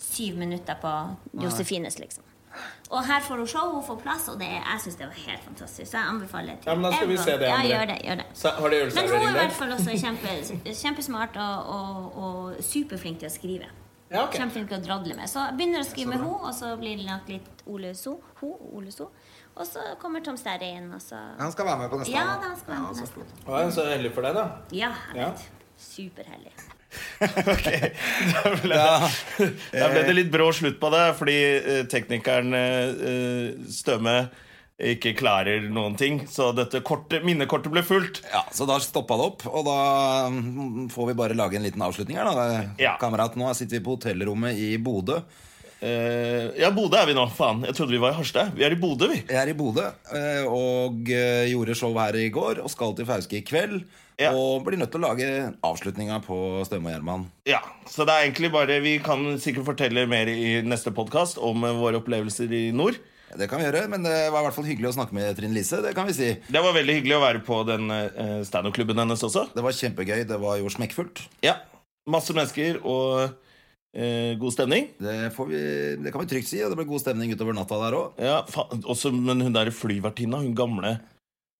Speaker 3: syv minutter på Josefines, liksom. Og her får hun show, hun får plass, og det er, jeg syns det var helt fantastisk. Så jeg anbefaler til
Speaker 4: Ja, men da skal vi
Speaker 3: everyone.
Speaker 4: se det, André.
Speaker 3: Ja, gjør det, gjør det.
Speaker 4: Så har de
Speaker 3: Men hun er i
Speaker 4: ølservering
Speaker 3: hvert
Speaker 4: der?
Speaker 3: fall også kjempe, kjempesmart og, og, og superflink til å skrive.
Speaker 4: Ja, ok.
Speaker 3: Kjempeflink til å drodle med. Så jeg begynner å skrive med henne, og så blir det nok litt Ole So. Ho, Ole so. Og så kommer Tom Sterry inn, og så
Speaker 2: Han skal være med på neste
Speaker 3: Ja,
Speaker 2: gang,
Speaker 3: da skal han
Speaker 2: Ja,
Speaker 3: på
Speaker 2: så
Speaker 3: neste.
Speaker 2: flott.
Speaker 4: Ja, så heldig for deg, da. Ja.
Speaker 3: Ja, herregud. Superhellig.
Speaker 1: *laughs* Da ble det litt brå slutt på det, fordi eh, teknikeren eh, eh, Støme ikke klarer noen ting. Så dette kortet, minnekortet ble fullt.
Speaker 2: Ja, Så da stoppa det opp, og da mm, får vi bare lage en liten avslutning her, da.
Speaker 1: Ja.
Speaker 2: Kamerat, nå sitter vi på hotellrommet i Bodø.
Speaker 1: Eh, ja, Bodø er vi nå. Faen, jeg trodde vi var i Harstad. Vi er i Bodø, vi.
Speaker 2: Jeg er i Bodø eh, og eh, gjorde show her i går og skal til Fauske i kveld.
Speaker 1: Ja.
Speaker 2: Og blir nødt til å lage avslutninga på Støme og Gjerman.
Speaker 1: Ja, så det er egentlig bare Vi kan sikkert fortelle mer i neste podkast om eh, våre opplevelser i nord.
Speaker 2: Det kan vi gjøre, men det var i hvert fall hyggelig å snakke med Trine Lise. Det kan vi si.
Speaker 1: Det var veldig hyggelig å være på den eh, standup-klubben hennes også.
Speaker 2: Det var kjempegøy. Det var jo smekkfullt.
Speaker 1: Ja, Masse mennesker og eh, god stemning.
Speaker 2: Det, får vi, det kan vi trygt si. Og det ble god stemning utover natta der òg.
Speaker 1: Ja, faen, også, Men hun der flyvertinna, hun gamle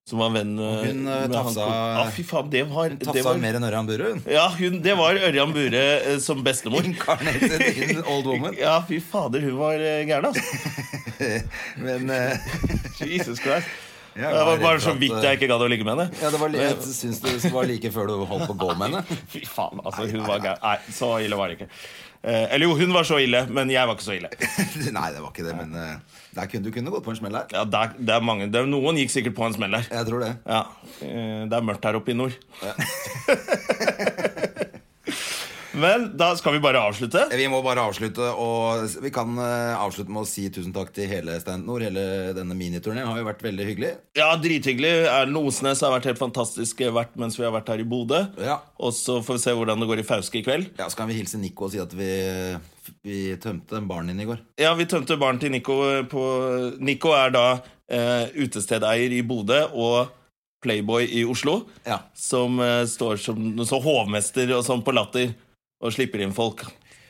Speaker 1: som var venn eh,
Speaker 2: Hun, eh,
Speaker 1: med
Speaker 2: tafsa-
Speaker 1: han- ah, Fy faen, det var, det
Speaker 2: Tafsa
Speaker 1: var
Speaker 2: mer enn Ørjan Burre, hun.
Speaker 1: Ja, hun, det var Ørjan Bure eh, som
Speaker 2: *laughs*
Speaker 1: bestemor.
Speaker 2: Incarnated in old woman.
Speaker 1: Ja, fy fader, hun var eh, gæren, altså.
Speaker 2: Men eh,
Speaker 1: Jesus
Speaker 2: *laughs*
Speaker 1: Christ.
Speaker 2: jeg
Speaker 1: Det var
Speaker 2: redd
Speaker 1: bare
Speaker 2: for
Speaker 1: så
Speaker 2: at,
Speaker 1: vidt
Speaker 2: eh,
Speaker 1: jeg ikke gadd å ligge med henne.
Speaker 2: *laughs* ja, det var, li- Jeg syns det var like før du holdt på å gå med henne.
Speaker 1: *laughs* Fy faen, altså, hun var gæren. Nei, så ille var det ikke. Eh, eller jo, hun var så ille, men jeg var ikke så ille.
Speaker 2: *laughs* Nei, det var ikke det, men eh, der kunne du kunne gått på en smell her.
Speaker 1: Ja, det er, det er mange, det er, Noen gikk sikkert på en smell der.
Speaker 2: Jeg tror det.
Speaker 1: Ja, eh, Det er mørkt her oppe i nord. *laughs* Men da skal vi bare avslutte.
Speaker 2: Eh, Vi må bare avslutte, og vi kan eh, avslutte med å si tusen takk til hele Stand Nord. Hele denne miniturneen har jo vært veldig hyggelig.
Speaker 1: Ja, Drithyggelig. Erlend Osnes har vært helt fantastisk eh, vært mens vi har vært her i Bodø.
Speaker 2: Ja.
Speaker 1: Og så får vi se hvordan det går i Fauske i kveld.
Speaker 2: Ja, Så kan vi hilse Nico og si at vi, vi tømte den baren din i går.
Speaker 1: Ja, vi tømte baren til Nico eh, på Nico er da eh, utestedeier i Bodø og Playboy i Oslo.
Speaker 2: Ja.
Speaker 1: Som eh, står som så hovmester og sånn på latter og slipper inn folk.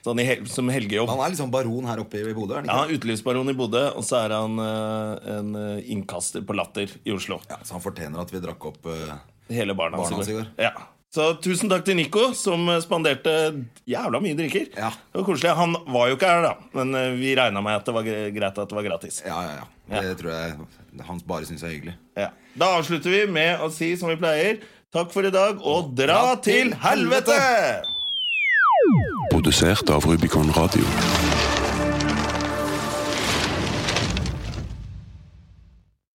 Speaker 1: Sånn i hel som helgejobb.
Speaker 2: Han er liksom baron her oppe i Bodø? er han
Speaker 1: Ja,
Speaker 2: ikke?
Speaker 1: han er utelivsbaron i Bodø, og så er han eh, en eh, innkaster på latter i Oslo.
Speaker 2: Ja, Så han fortjener at vi drakk opp eh,
Speaker 1: Hele barna
Speaker 2: Barna
Speaker 1: hans
Speaker 2: hans
Speaker 1: i går.
Speaker 2: i
Speaker 1: Ja. Så tusen takk til Nico, som eh, spanderte jævla mye drikker.
Speaker 2: Ja.
Speaker 1: Det var koselig. Han var jo ikke her, da, men eh, vi regna med at det var gre- greit at det var gratis.
Speaker 2: Ja, ja, ja. Det tror jeg han bare syns er hyggelig.
Speaker 1: Ja. Da avslutter vi med å si som vi pleier, takk for i dag, og dra til helvete!
Speaker 5: Produsert av Rubicon Radio.